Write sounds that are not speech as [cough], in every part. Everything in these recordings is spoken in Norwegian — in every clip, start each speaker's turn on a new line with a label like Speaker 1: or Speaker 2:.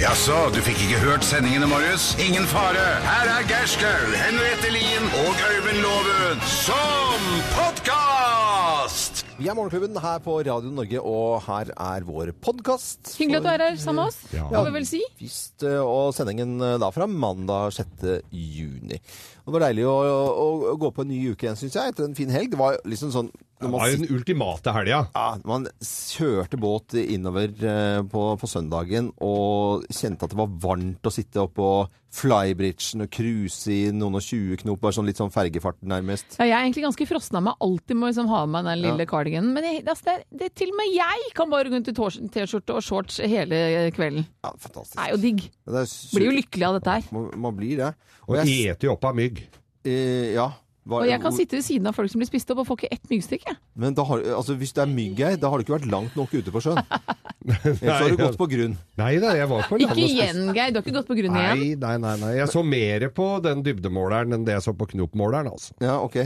Speaker 1: Jaså, du fikk ikke hørt sendingene, Marius? Ingen fare. Her er Gerskaug, Henriette Lien og Øyvind Loven som podkast!
Speaker 2: Vi er Morgenklubben her på Radio Norge, og her er vår podkast.
Speaker 3: Hyggelig at du er her sammen med oss, må vi vel si.
Speaker 2: Visst, og sendingen eh, da fra mandag 6. juni. Og Det var deilig å, å, å gå på en ny uke igjen, syns jeg, etter en fin helg. Det var liksom sånn når
Speaker 4: Det
Speaker 2: man,
Speaker 4: var jo
Speaker 2: sit-
Speaker 4: den ultimate helga.
Speaker 2: ja, man kjørte båt innover eh, på, på søndagen og kjente at det var varmt å sitte oppå flybridgen og cruise i noen og tjue knop, bare sånn litt sånn fergefart nærmest.
Speaker 3: Ja, jeg er egentlig ganske frossen av meg, alltid må liksom ha med meg den lille cardiganen. Men jeg, altså, det, det, til og med jeg kan bare gå rundt i tors- T-skjorte og shorts hele kvelden.
Speaker 2: Ja, fantastisk.
Speaker 3: Det er jo digg.
Speaker 2: Det er su-
Speaker 3: Blir jo lykkelig av dette her.
Speaker 2: Man, man blir det.
Speaker 4: Og eter jo opp av mygg.
Speaker 2: Eh, ja. Hva-
Speaker 3: Og jeg kan
Speaker 2: hvor-
Speaker 3: sitte ved siden av folk som blir spist opp og får ikke ett myggstykke.
Speaker 2: Men da har, altså, hvis det er mygg her, da har du ikke vært langt nok ute på
Speaker 3: [laughs]
Speaker 2: sjøen. Ellers har du
Speaker 4: Nei,
Speaker 2: gått på grunn.
Speaker 4: Nei da, jeg var på
Speaker 3: Ikke
Speaker 4: landet.
Speaker 3: igjen, Geir. Du har ikke gått på grunn igjen.
Speaker 4: Nei, nei, nei, nei. Jeg så mer på den dybdemåleren enn det jeg så på knopmåleren, altså.
Speaker 2: Ja, ok.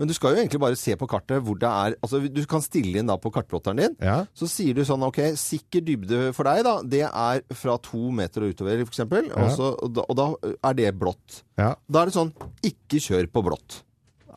Speaker 2: Men du skal jo egentlig bare se på kartet hvor det er Altså, du kan stille inn da på kartplotteren din.
Speaker 4: Ja.
Speaker 2: Så sier du sånn OK, sikker dybde for deg, da, det er fra to meter og utover, f.eks. eksempel Og, så- og, da- og da er det blått.
Speaker 4: Ja,
Speaker 2: Da er det sånn ikke kjør på blått.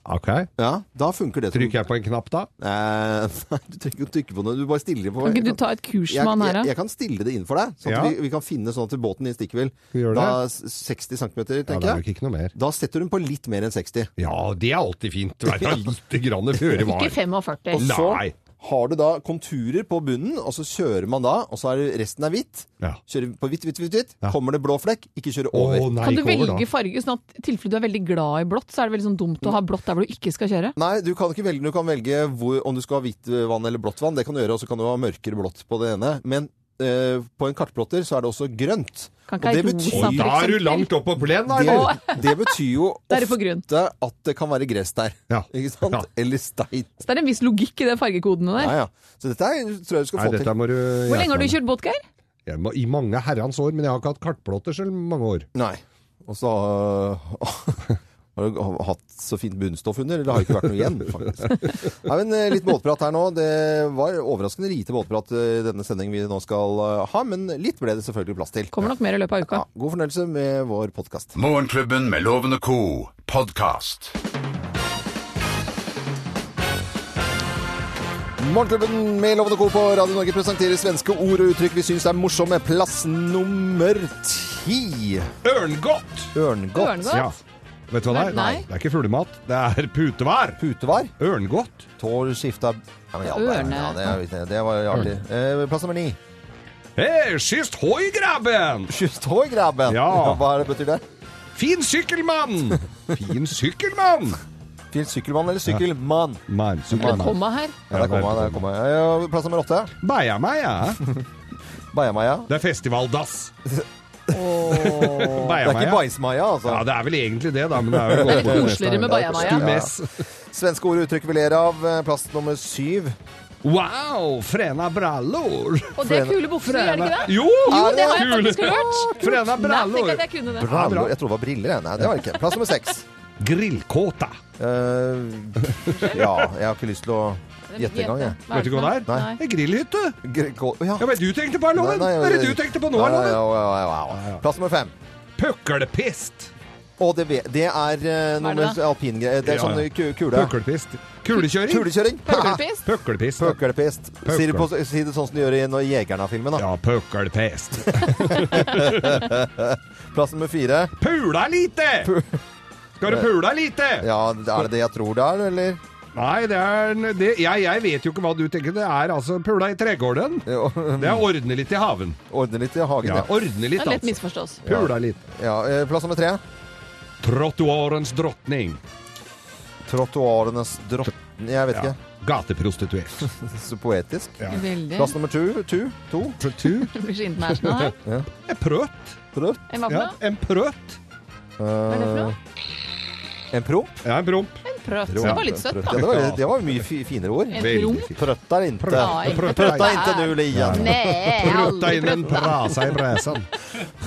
Speaker 4: ok.
Speaker 2: Ja, da funker det. som-
Speaker 4: Trykker jeg på en knapp da?
Speaker 2: Eh, Nei, [laughs] du trenger ikke å trykke på noe. Du bare stiller inn på
Speaker 3: Kan ikke du ta et kurs
Speaker 2: jeg,
Speaker 3: med han her,
Speaker 2: jeg,
Speaker 3: da?
Speaker 2: jeg kan stille det inn for deg, sånn at
Speaker 4: Ja.
Speaker 2: vi, vi kan finne sånn at båten din stikker vel
Speaker 4: Vi gjør det.
Speaker 2: da, s- 60 cm,
Speaker 4: Ja,
Speaker 2: tenker
Speaker 4: det er
Speaker 2: jeg.
Speaker 4: jo ikke noe mer.
Speaker 2: Da setter hun på litt mer enn 60.
Speaker 4: Ja, det er alltid fint. Vær da litt grann føre var.
Speaker 3: Ikke 45.
Speaker 2: Så
Speaker 4: Nei.
Speaker 2: har du da konturer på bunnen, og så kjører man da, og så er det- resten er hvitt.
Speaker 4: Ja.
Speaker 2: Kjører på hvitt, hvitt, hvitt, hvitt.
Speaker 4: Ja.
Speaker 2: Kommer det blå flekk, ikke kjøre
Speaker 4: Å
Speaker 2: over.
Speaker 4: nei,
Speaker 3: Kan du
Speaker 4: ikke over da.
Speaker 3: velge farge, sånn at i tilfelle du er veldig glad i blått, så er det veldig sånn dumt å ha blått der hvor du ikke skal kjøre?
Speaker 2: Nei, du kan ikke velge, du kan velge hvor, om du skal ha hvitt vann eller blått vann. Det kan du gjøre, og så kan du ha mørkere blått på det ene. Men eh, på en kartplotter så er det også grønt. Og
Speaker 3: Kan ikke ha
Speaker 2: det
Speaker 3: et
Speaker 2: betyr-
Speaker 3: rosa, for
Speaker 4: Og da er du
Speaker 3: eksempel.
Speaker 4: langt opp på plen da.
Speaker 2: Det,
Speaker 4: eller?
Speaker 2: det betyr jo
Speaker 3: Da er [laughs] det på grunn.
Speaker 2: ofte at det kan være gress der.
Speaker 4: Ja.
Speaker 2: Ikke sant?
Speaker 4: Ja.
Speaker 2: Eller stein.
Speaker 3: Så det er en viss logikk i de fargekodene der.
Speaker 2: Ja, ja. Så dette er, tror jeg du skal
Speaker 4: Nei,
Speaker 2: få
Speaker 4: dette
Speaker 2: til.
Speaker 4: må du...
Speaker 3: Hvor lenge har du kjørt båt, Geir?
Speaker 4: Jeg må, I mange herrens år, men jeg har ikke hatt kartplotter selv i mange år.
Speaker 2: Nei. Og så [laughs] øh, har du hatt så fint bunnstoff under, eller det har ikke vært noe igjen, faktisk. Nei, men eh, litt båtprat her nå. Det var overraskende lite båtprat eh, i denne sendingen vi nå skal eh, ha, men litt ble det selvfølgelig plass til.
Speaker 3: Kommer nok mer i løpet av uka.
Speaker 2: Ja, god fornøyelse med vår podkast.
Speaker 1: Morgenklubben med Loven og co. podkast.
Speaker 2: Morgenklubben med Lovende Co. på Radio Norge presenterer svenske ord og uttrykk vi syns er morsomme. Plass nummer ti.
Speaker 4: Ørngodt!
Speaker 2: Ørngodt.
Speaker 3: Ørngodt?
Speaker 4: Ja. Vet du hva det er?
Speaker 3: Nei.
Speaker 4: Det er ikke fuglemat, det er putevær.
Speaker 2: Putevar.
Speaker 4: Ørngodt.
Speaker 2: Tår skifta ja, men i all verden, ja, det, er- det, det var artig. Eh, plass nummer ni.
Speaker 4: Hei, skyst hoi, grabben!
Speaker 2: Tår, grabben.
Speaker 4: Ja.
Speaker 2: [laughs] Hva er det betyr det?
Speaker 4: Fin
Speaker 2: [laughs]
Speaker 4: sykkelmann! Fin sykkelmann!
Speaker 2: Til sykkelmann eller sykkelmann?
Speaker 4: Mann,
Speaker 2: Mann.
Speaker 4: sykkelmann.
Speaker 3: Komma her.
Speaker 2: Ja, der kom jeg. Der kom jeg. Eh, Plass nummer åtte.
Speaker 4: Beia meg, ja.
Speaker 2: Beiamaja.
Speaker 4: Det er festivaldass.
Speaker 3: Åh.
Speaker 2: Det er
Speaker 4: Beia meg,
Speaker 2: ikke
Speaker 4: ja.
Speaker 2: Bajsmaja, altså.
Speaker 4: Ja, det er vel egentlig det, da. Men det er vel
Speaker 3: Det er litt koseligere med Baia Maja.
Speaker 4: Skumess.
Speaker 2: Svenske ord og uttrykk vi ler av. Eh, Plass nummer syv.
Speaker 4: Wow, frena brallor!
Speaker 3: Og det er kule bukser, er det ikke det?
Speaker 4: Jo!
Speaker 3: Jo, det har jeg faktisk
Speaker 4: Kule.
Speaker 3: hørt!
Speaker 4: Frena
Speaker 3: Nei, tenk
Speaker 4: brallor!
Speaker 3: at jeg kunne det.
Speaker 4: Bra.
Speaker 2: Brallor. Jeg trodde det var briller. jeg. Nei, det var det ikke. Plass nummer seks.
Speaker 4: Grillkåta.
Speaker 2: Eh, ja, jeg har ikke lyst til å gjette engang, jeg.
Speaker 4: Vet du ikke hva det er?
Speaker 3: Nei.
Speaker 4: Det er grillhytte.
Speaker 2: Gre- gå- Ja.
Speaker 4: Ja, men du tenkte på her, Loven.
Speaker 2: Nei, nei,
Speaker 4: Det er det du tenkte på nå,
Speaker 2: Ja,
Speaker 4: her,
Speaker 2: ja,
Speaker 4: Loven.
Speaker 2: ja, ja, ja, ja. Plass nummer fem.
Speaker 4: Pøkkelpist.
Speaker 2: Å, det, ve- det er eh, noe
Speaker 3: Hva er det
Speaker 2: med alpingreier. Det er
Speaker 4: Ja,
Speaker 2: sånn
Speaker 4: ja.
Speaker 2: ku- kule.
Speaker 4: Pøkkelpist. Kulekjøring.
Speaker 2: Kulekjøring. [laughs]
Speaker 4: [laughs]
Speaker 3: Pøkkelpist?
Speaker 4: Pøkkelpist.
Speaker 2: Pøkkelpist.
Speaker 4: Pøkkel.
Speaker 2: Si det, på, si det sånn som de gjør i når jegerne av filmen. Da.
Speaker 4: Ja, pøkkelpest.
Speaker 2: Plass nummer fire.
Speaker 4: Pula lite! Skal du pula lite?
Speaker 2: Ja, er det det jeg tror det er, eller?
Speaker 4: Nei, det er det, jeg, jeg vet jo ikke hva du tenker. Det er altså pula i tregården.
Speaker 2: [laughs]
Speaker 4: Det er ordne litt i haven.
Speaker 2: Ordne litt i hagen,
Speaker 4: Ja,
Speaker 2: ja.
Speaker 4: ordne litt,
Speaker 3: Det er lett
Speaker 4: altså.
Speaker 3: misforstås.
Speaker 4: Pula litt.
Speaker 2: ja. eh, Plass nummer tre.
Speaker 4: Trottoarens drottning.
Speaker 2: Trottoarenes drotten Jeg vet
Speaker 4: Ja.
Speaker 2: ikke.
Speaker 4: Gateprostituert.
Speaker 2: Så poetisk.
Speaker 4: Ja.
Speaker 3: Veldig.
Speaker 2: Plass nummer tu. Tu? To?
Speaker 4: Protu?
Speaker 3: Det blir så international her. sånn,
Speaker 4: En prøt.
Speaker 2: Prøv.
Speaker 3: En hva for
Speaker 4: Ja,
Speaker 3: noe?
Speaker 4: en prøt.
Speaker 3: Hva er det for noe?
Speaker 2: En promp?
Speaker 4: Ja, en promp.
Speaker 3: En prøt. Det var litt søtt,
Speaker 2: Prøtt.
Speaker 3: da.
Speaker 2: Ja, det var, det var mye fi, finere ord.
Speaker 3: En
Speaker 4: Veldig
Speaker 3: promp?
Speaker 4: fint.
Speaker 2: Trøtt er inte.
Speaker 3: Ja, ikke
Speaker 4: Prøtta
Speaker 2: Trøtt er
Speaker 3: inn.
Speaker 2: inte nu, Lian.
Speaker 3: Nei,
Speaker 4: Prøtta
Speaker 3: aldri
Speaker 4: inn en
Speaker 3: prøtta.
Speaker 4: prasa i bræsan.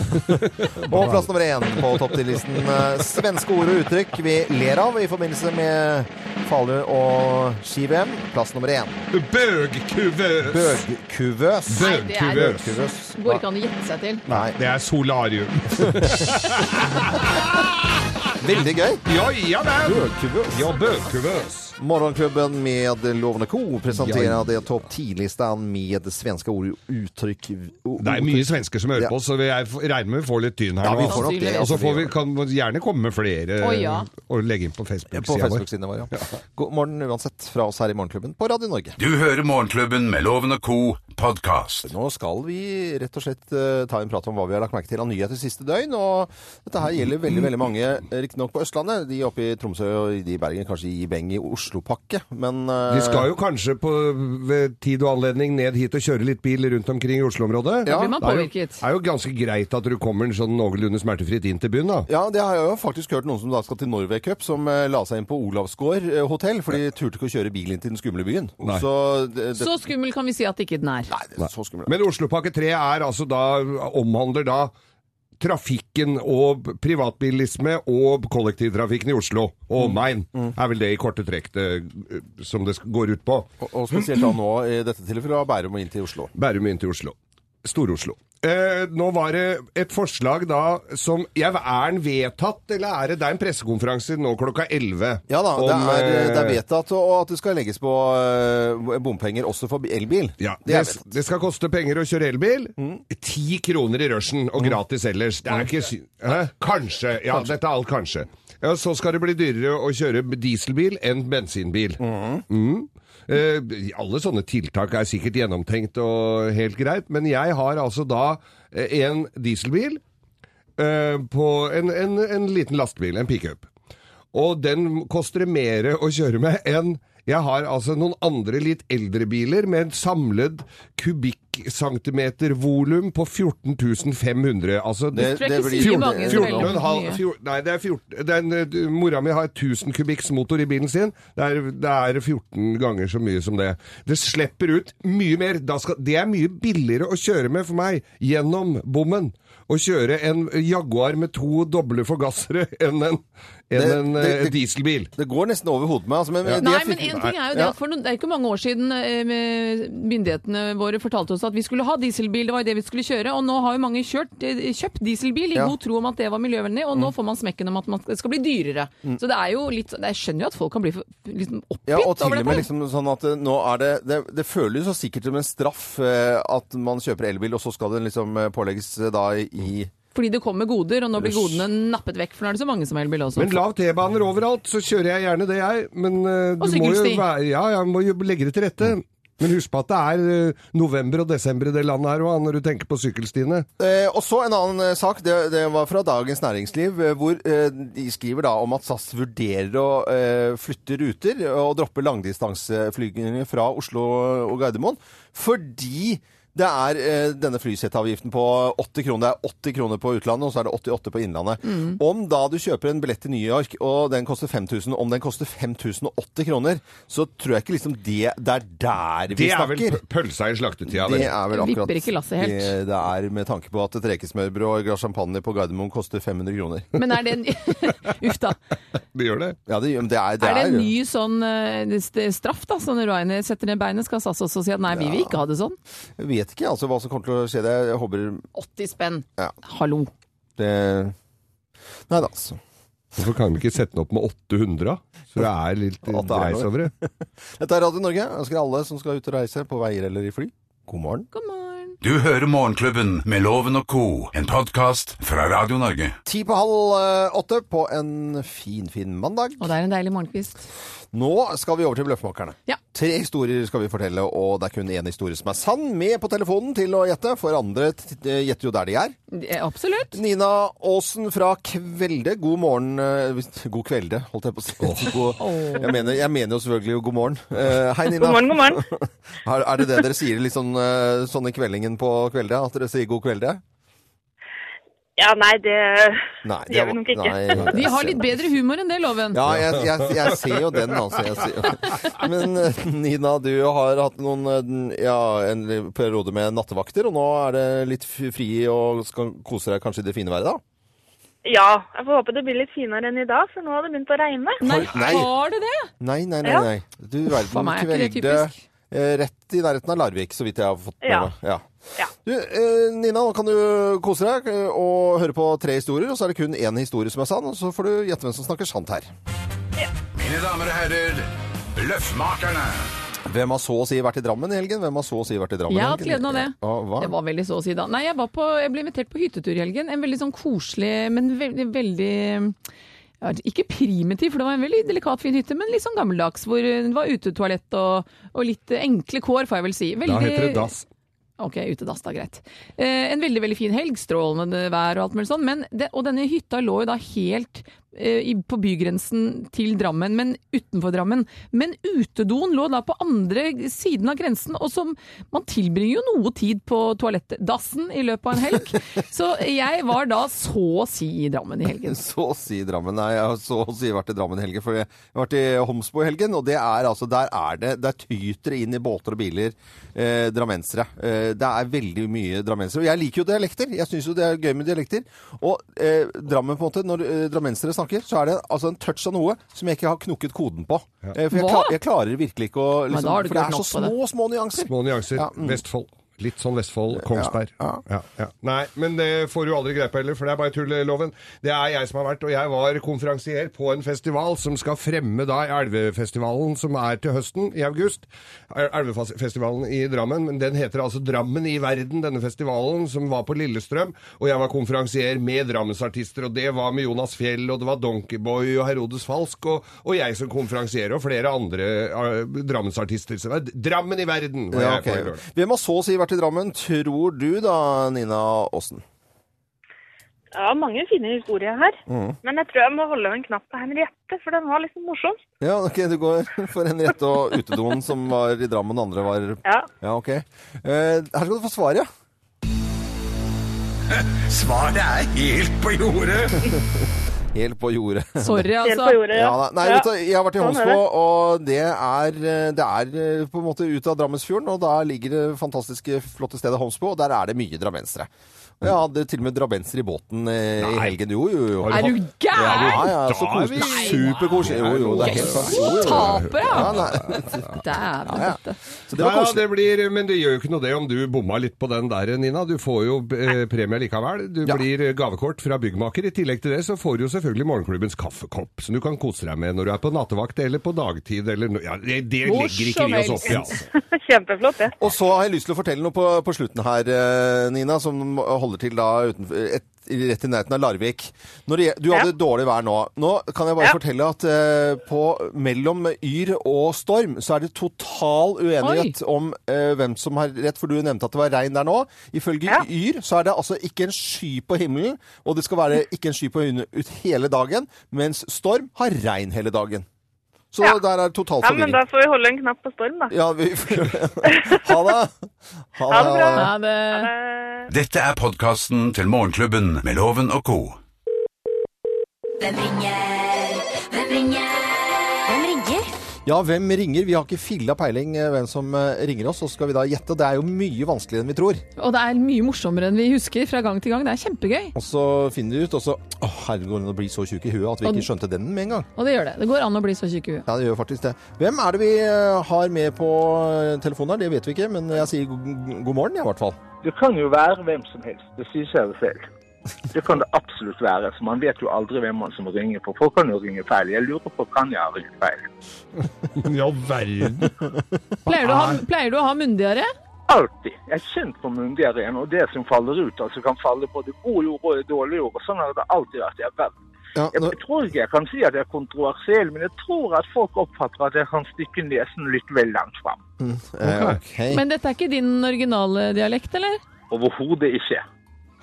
Speaker 2: [laughs] Og plass nummer én på topp 10-listen. eh, Svenske ord og uttrykk vi ler av i forbindelse med Falun og ski-VM, plass nummer én.
Speaker 4: Bøgkuvøs!
Speaker 2: Bøgkuvøs.
Speaker 3: Nei, det er-
Speaker 4: Bøgkuvøs.
Speaker 2: Bøgkuvøs.
Speaker 3: Går ikke an å gjette seg til.
Speaker 2: Nei.
Speaker 4: Det er solarium.
Speaker 2: Veldig gøy.
Speaker 4: Ja, ja vel!
Speaker 2: Bøgkuvøs.
Speaker 4: Ja, bøgkuvøs.
Speaker 2: Morgonklubben med Lovende Co.
Speaker 4: Ja.
Speaker 2: presenterer det topp 10-listan med svenske ord og uttrykk. o-
Speaker 4: Det er
Speaker 2: uttrykk.
Speaker 4: mye svensker som hører
Speaker 2: Ja.
Speaker 4: på, så vi er, regner med vi får litt tyn her
Speaker 2: Ja, vi
Speaker 4: nå.
Speaker 2: får nok det. altså.
Speaker 4: Og så får vi, kan vi gjerne komme med flere
Speaker 3: Å, ja.
Speaker 4: og legge inn på
Speaker 2: På
Speaker 4: Facebook-sida vår.
Speaker 2: Facebook-sidene våre. Ja. God morgen uansett fra oss her i Morgenklubben på Radio Norge.
Speaker 1: Du hører Morgenklubben med Loven og Co. podkast.
Speaker 2: Nå skal vi rett og slett eh, ta en prat om hva vi har lagt merke til av nyheter siste døgn. Og dette her gjelder veldig veldig mange, eh, riktignok på Østlandet. De oppe i Tromsø og de i Bergen, kanskje i Beng i Oslopakke. Men eh,
Speaker 4: Vi skal jo kanskje på ved tid og anledning ned hit og kjøre litt bil rundt omkring i Oslo-området.
Speaker 2: Ja.
Speaker 3: Da blir man
Speaker 4: Det er jo,
Speaker 3: påvirket.
Speaker 4: er jo ganske greit at du kommer sånn noenlunde smertefritt inn til byen, da.
Speaker 2: Ja, det har jeg jo faktisk hørt noen som da skal til Norway Cup, som eh, la seg inn på Olavsgård eh, hotell, for de turte ikke å kjøre bil inn til den skumle byen.
Speaker 4: Nei.
Speaker 2: Så eh, det, det,
Speaker 3: Så skummel kan vi si at ikke den er.
Speaker 2: nei, det er så skummelt.
Speaker 4: Men Oslopakke 3 er altså da, omhandler da trafikken og privatbilisme og kollektivtrafikken i Oslo og omegn.
Speaker 2: Mm.
Speaker 4: Er vel det i korte trekk det, eh, som det sk- går ut på.
Speaker 2: Og, og spesielt da nå i dette tilfellet fra Bærum og inn til Oslo.
Speaker 4: Bærum inn til Oslo. Stor-Oslo. Eh, nå var det et forslag da som ja, Er den vedtatt, eller er det Det er en pressekonferanse nå klokka 11?
Speaker 2: Ja da, det
Speaker 4: om,
Speaker 2: er, det er
Speaker 4: eh,
Speaker 2: vedtatt og og at det skal legges på eh, bompenger også for elbil.
Speaker 4: Ja,
Speaker 2: det
Speaker 4: det,
Speaker 2: er vedtatt.
Speaker 4: det skal koste penger å kjøre elbil. Ti kroner i rushen, og gratis ellers. Det er ikke sy... Hæ? Kanskje. Ja, dette er alt kanskje. Ja, så skal det bli dyrere å kjøre dieselbil enn bensinbil. Mm. Eh, alle sånne tiltak er sikkert gjennomtenkt og helt greit, men jeg har altså da eh, en dieselbil eh, på en, en, en liten lastebil, en pickup. Og den koster det mer å kjøre med enn jeg har altså noen andre litt eldre biler med en samlet kubikkcentimetervolum på 14.500. Altså
Speaker 2: Det-
Speaker 3: tror jeg
Speaker 2: det
Speaker 3: ikke
Speaker 2: blir-
Speaker 3: sier
Speaker 2: 14
Speaker 3: mange så
Speaker 4: 14
Speaker 3: veldig
Speaker 4: og en halv,
Speaker 3: mye.
Speaker 4: fjor- nei, det er 14 den, eh, Mora mi har 1000 kubikks motor i bilen sin. Det er, det er 14 ganger så mye som det. Det slipper ut mye mer. Da skal, det er mye billigere å kjøre med for meg gjennom bommen. Å kjøre en Jaguar med to doble forgassere enn en, enn
Speaker 2: Det-
Speaker 4: en eh,
Speaker 2: det- det-
Speaker 4: dieselbil.
Speaker 2: Det går nesten over hodet med. Altså, men, det
Speaker 3: Nei,
Speaker 2: fikk-
Speaker 3: men en ting er jo det
Speaker 2: Ja.
Speaker 3: at for noen, det er ikke mange år siden eh, med myndighetene våre fortalte oss at vi skulle ha dieselbil, det var jo det vi skulle kjøre. Og nå har jo mange kjørt, eh, kjøpt dieselbil i
Speaker 2: Ja. Mm.
Speaker 3: god tro om at det var miljøvennlig, og nå får man smekken om at man, det skal bli dyrere. Så det er jo litt Jeg skjønner jo at folk kan bli for, liksom oppgitt
Speaker 2: Ja, og til
Speaker 3: over
Speaker 2: og med
Speaker 3: dette.
Speaker 2: liksom sånn at eh, nå er det, det Det føles så sikkert som en straff eh, at man kjøper elbil, og så skal den liksom eh, pålegges eh, da i
Speaker 3: Fordi det kommer goder, og nå blir godene nappet vekk, for nå er det så mange som har elbil også.
Speaker 4: Men lav T-baner overalt, så kjører jeg gjerne det, jeg. Men eh,
Speaker 3: Og
Speaker 4: du må jo,
Speaker 3: sykkelsti.
Speaker 4: være, ja, ja, må jo legge det til rette.
Speaker 2: Mm.
Speaker 4: Men husk på at det er eh, november og desember i det landet her òg, når du tenker på sykkelstiene.
Speaker 2: Eh, og så en annen eh, sak, det, det var fra Dagens Næringsliv, eh, hvor eh, de skriver da om at SAS vurderer å eh, flytte ruter og droppe langdistanseflygninger fra Oslo og Gardermoen, fordi det er eh, denne flyseteavgiften på 80 kroner. Det er 80 kroner på utlandet, og så er det 88 på innlandet.
Speaker 4: Mm.
Speaker 2: Om da du kjøper en billett til New York, og den koster 5000, om den koster 5080 kroner, så tror jeg ikke liksom det, det er der vi
Speaker 4: Det er
Speaker 2: snakker.
Speaker 4: vel p- pølsa i slaktetida,
Speaker 2: Det
Speaker 4: vel.
Speaker 2: er vel
Speaker 3: Det vipper
Speaker 2: akkurat
Speaker 3: ikke lasset helt.
Speaker 2: det det er, med tanke på at et rekesmørbrød og et glass champagne på Gardermoen koster 500 kroner. [laughs]
Speaker 3: Men er det en [laughs] Uff da.
Speaker 4: Det gjør det.
Speaker 2: Ja, det, men det er, det
Speaker 3: Er det en
Speaker 2: er-
Speaker 3: ny sånn eh, st- straff, da? Sånn Ryanair setter ned beinet, skal SAS også si at nei, vi vil ikke ha det sånn?
Speaker 2: Jeg vet ikke altså, hva som kommer til å skje. Det, jeg håper
Speaker 3: 80 spenn.
Speaker 2: Ja.
Speaker 3: Hallo.
Speaker 2: det Nei da, altså.
Speaker 4: Hvorfor kan de ikke sette den opp med 800? Så det er litt
Speaker 2: At det er
Speaker 4: dreis
Speaker 2: noe.
Speaker 4: over det.
Speaker 2: Dette er Radio Norge. Jeg ønsker alle som skal ut og reise, på veier eller i fly, god morgen.
Speaker 3: God morgen.
Speaker 1: Du hører Morgenklubben med Loven og Co., en podkast fra Radio Norge.
Speaker 2: Ti på halv eh, åtte på en fin, fin mandag.
Speaker 3: Og det er en deilig morgenkvist.
Speaker 2: Nå skal vi over til Bløffmakerne.
Speaker 3: Ja.
Speaker 2: Tre historier skal vi fortelle, og det er kun én historie som er sann. Med på telefonen til å gjette, for andre t- eh, gjetter jo der de er.
Speaker 3: det- eh, Absolutt.
Speaker 2: Nina Aasen fra Kvelde, god morgen eh, hvis- God kvelde, holdt jeg på å si. [laughs] God, jeg, mener, jeg mener jo selvfølgelig god morgen. Eh, hei, Nina.
Speaker 5: God morgen, god morgen.
Speaker 2: [laughs] Er, er det det dere sier litt sånn, eh, sånn i kveldingen på kvelde? At dere sier god kvelde?
Speaker 5: Ja, nei, det
Speaker 2: Nei,
Speaker 5: Det gjør vi nok ikke.
Speaker 2: nei,
Speaker 3: De
Speaker 2: jeg
Speaker 3: har
Speaker 2: ser-
Speaker 3: litt bedre humor enn det, Loven.
Speaker 2: Ja, jeg, jeg, jeg ser jo den, altså. Jeg ser. [laughs] Men eh, Nina, du har hatt noen, eh, ja, en periode med nattevakter, og nå er det litt f- fri og skal kose deg kanskje i det fine været, da?
Speaker 5: Ja, jeg får håpe det blir litt finere enn i dag, for nå har det begynt å regne.
Speaker 3: Nei,
Speaker 2: Nei.
Speaker 3: var det det?
Speaker 2: Nei, nei, nei.
Speaker 5: Ja.
Speaker 2: nei. Du
Speaker 3: For
Speaker 2: verden
Speaker 3: meg er ikke det
Speaker 2: kvelder
Speaker 3: typisk.
Speaker 2: eh, rett i nærheten av Larvik, så vidt jeg har fått med
Speaker 5: Ja.
Speaker 2: meg. Ja.
Speaker 5: Ja.
Speaker 2: Du, eh, Nina, nå kan du kose deg eh, og høre på tre historier, og så er det kun én historie som er sann, og så får du gjette hvem som snakker sant her.
Speaker 1: Mine damer og herrer, Løffmakerne.
Speaker 2: Hvem har så å si vært i Drammen i helgen? Hvem har så å si vært i Drammen? i
Speaker 3: Jeg har hatt
Speaker 2: helgen?
Speaker 3: gleden av det.
Speaker 2: Ja, hva?
Speaker 3: Det var veldig så å si da. Nei, jeg, var på, jeg ble invitert på hyttetur i helgen. En veldig sånn koselig, men veldig, veldig ja, ikke primitiv, for det var en veldig delikat, fin hytte, men litt sånn gammeldags. Hvor det var utetoalett og, og litt enkle kår, får jeg vel si.
Speaker 4: Da
Speaker 3: Veldig-
Speaker 4: heter det dass.
Speaker 3: Ok, utedass da, greit. Eh, en veldig veldig fin helg, strålende vær og alt mulig sånn. Men det, og denne hytta lå jo da helt eh, i, på bygrensen til Drammen, men utenfor Drammen. Men utedoen lå da på andre siden av grensen, og som Man tilbringer jo noe tid på toalettet, dassen, i løpet av en
Speaker 5: [laughs]
Speaker 3: helg. Så jeg var da så å si i Drammen i helgen.
Speaker 2: Så å si Drammen. Nei, jeg har så å si vært i Drammen i helgen. For jeg har vært i Homsbo i helgen, og det er altså Der er det Der tyter det inn i båter og biler eh, drammensere. Eh, det er veldig mye drammensere. Og jeg liker jo dialekter. Jeg syns jo det er gøy med dialekter. Og eh, Drammen, på en måte, når eh, drammensere snakker, så er det altså en touch av noe som jeg ikke har knukket koden på. Eh, for jeg,
Speaker 3: Hva?
Speaker 2: kla- jeg klarer virkelig ikke å
Speaker 3: Men
Speaker 2: liksom,
Speaker 3: da har du
Speaker 2: For det
Speaker 3: ikke
Speaker 2: er
Speaker 3: hørt
Speaker 2: så
Speaker 3: nok på
Speaker 2: små, små nyanser.
Speaker 4: Små nyanser.
Speaker 2: Ja, mm.
Speaker 4: Vestfold. Litt sånn Vestfold, Kongsberg. Ja, ja. Nei, men det får du aldri greie på heller, for det er bare tulleloven. Det er jeg som har vært, og jeg var konferansier på en festival som skal fremme da Elvefestivalen, som er til høsten i august. El- Elvefestivalen i Drammen, men den heter altså Drammen i verden, denne festivalen, som var på Lillestrøm. Og jeg var konferansier med Drammensartister, og det var med Jonas Fjell, og det var Donkeyboy og Herodes Falsk, og, og jeg som konferansier, og flere andre eh, Drammensartister. Så det er Drammen i verden! var
Speaker 2: Ja,
Speaker 4: jeg på i
Speaker 2: ok.
Speaker 4: lørdag.
Speaker 2: Hvem har så å si vært i Drammen, tror du da, Nina Aasen?
Speaker 5: Ja, mange fine historier her. Men jeg tror jeg må holde en knapp på Henriette, for den var liksom morsom.
Speaker 2: Ja, ok, du går for Henriette og utedoen som var i Drammen, den andre var
Speaker 5: Ja.
Speaker 2: Ja, ok. Eh, her skal du få svaret, ja.
Speaker 1: Svaret er helt på jordet.
Speaker 2: Helt på jordet.
Speaker 3: Sorry,
Speaker 5: Helt på
Speaker 3: altså.
Speaker 5: jordet, ja.
Speaker 2: Ja, da. nei,
Speaker 5: Ja.
Speaker 2: vet du, jeg har vært i
Speaker 5: Sånn er
Speaker 2: Homsbo, og det er, eh, det er eh, på en måte ut av Drammensfjorden, og der ligger det fantastiske, flotte stedet Homsbo, og der er det mye drammensere. Og jeg hadde til og med drammensere i båten eh, i helgen. Jo, jo, jo.
Speaker 4: Har
Speaker 3: Er du gæren?
Speaker 2: Ja, ja, så
Speaker 4: Da er vi-
Speaker 2: koselig. Superkoselig. Jo, jo, det er helt sant. Jo, jo, jo.
Speaker 3: Taper, ja!
Speaker 2: Ja, nei.
Speaker 3: Dæven
Speaker 2: ja.
Speaker 3: døtte.
Speaker 2: Så det var
Speaker 4: ja,
Speaker 2: koselig.
Speaker 4: det blir, men det gjør jo ikke noe det om du bomma litt på den der, Nina. Du får jo eh, premie likevel. Du
Speaker 2: Ja.
Speaker 4: blir eh, gavekort fra byggmaker. I tillegg til det så får du jo selvfølgelig morgenklubbens kaffekopp, som du kan kose deg med når du er på nattevakt eller på dagtid eller no ja, Det, det
Speaker 3: Hvor
Speaker 4: legger ikke
Speaker 3: som
Speaker 4: vi oss opp i,
Speaker 3: helst.
Speaker 4: altså.
Speaker 5: [laughs] Kjempeflott, det.
Speaker 2: Og så har jeg lyst til å fortelle noe på, på slutten her, eh, Nina, som holder til da utenfor, et, rett i nærheten av Larvik. Når det, du hadde dårlig vær nå. Nå kan jeg bare
Speaker 5: Ja.
Speaker 2: fortelle at eh, på, mellom yr og storm så er det total uenighet om eh, hvem som har rett, for du nevnte at det var regn der nå. Ifølge
Speaker 5: Ja.
Speaker 2: yr så er det altså ikke en sky på himmelen, og det skal være
Speaker 5: Mm.
Speaker 2: ikke en sky på himmelen ut hele dagen, mens storm har regn hele dagen. Så
Speaker 5: Ja.
Speaker 2: der er det total
Speaker 5: Ja, men
Speaker 2: forvirring.
Speaker 5: da får vi holde en knapp på Storm, da.
Speaker 2: Ja, vi får gjøre det. Ha det! Ha
Speaker 5: Ha det bra.
Speaker 3: Ja, det...
Speaker 5: Eh,
Speaker 1: Dette er podkasten til Morgenklubben med Loven og co.
Speaker 6: Hvem ringer? Hvem ringer? Hvem ringer?
Speaker 2: Ja, hvem ringer? Vi har ikke filla peiling eh, hvem som eh, ringer oss, så skal vi da gjette. og Det er jo mye vanskeligere enn vi tror.
Speaker 3: Og det er mye morsommere enn vi husker fra gang til gang. Det er kjempegøy.
Speaker 2: Og så finner vi ut, og så Å, herregud, nå blir vi så tjuke i huet at vi
Speaker 3: Og-
Speaker 2: ikke skjønte den med en gang.
Speaker 3: Og det gjør det. Det går an å bli så tjukk i huet.
Speaker 2: Ja, det gjør faktisk det. Hvem er det vi eh, har med på eh, telefonen her? Det vet vi ikke, men jeg sier go- god morgen, jeg, i hvert fall.
Speaker 7: Det kan jo være hvem som helst, det sier seg jo selv. Det kan det absolutt være, for man vet jo aldri hvem man som ringer på. Folk kan jo ringe feil. Jeg lurer på kan jeg ha ringt feil.
Speaker 4: [laughs] Ja,
Speaker 2: [laughs]
Speaker 4: verden.
Speaker 3: Pleier du å ha, pleier du å ha munndiaré?
Speaker 7: Alltid. Jeg er kjent for myndigere igjen, og det som faller ut, altså kan falle både god jord og dårlig jord. og Sånn har det alltid vært. Jeg, er verdt.
Speaker 2: Ja,
Speaker 7: jeg,
Speaker 2: nå,
Speaker 7: jeg tror ikke jeg kan si at jeg er kontroversiell, men jeg tror at folk oppfatter at jeg kan stikke nesen litt vel langt fram.
Speaker 2: eh, ok.
Speaker 3: Men dette er ikke din originale dialekt, eller?
Speaker 7: Overhodet ikke.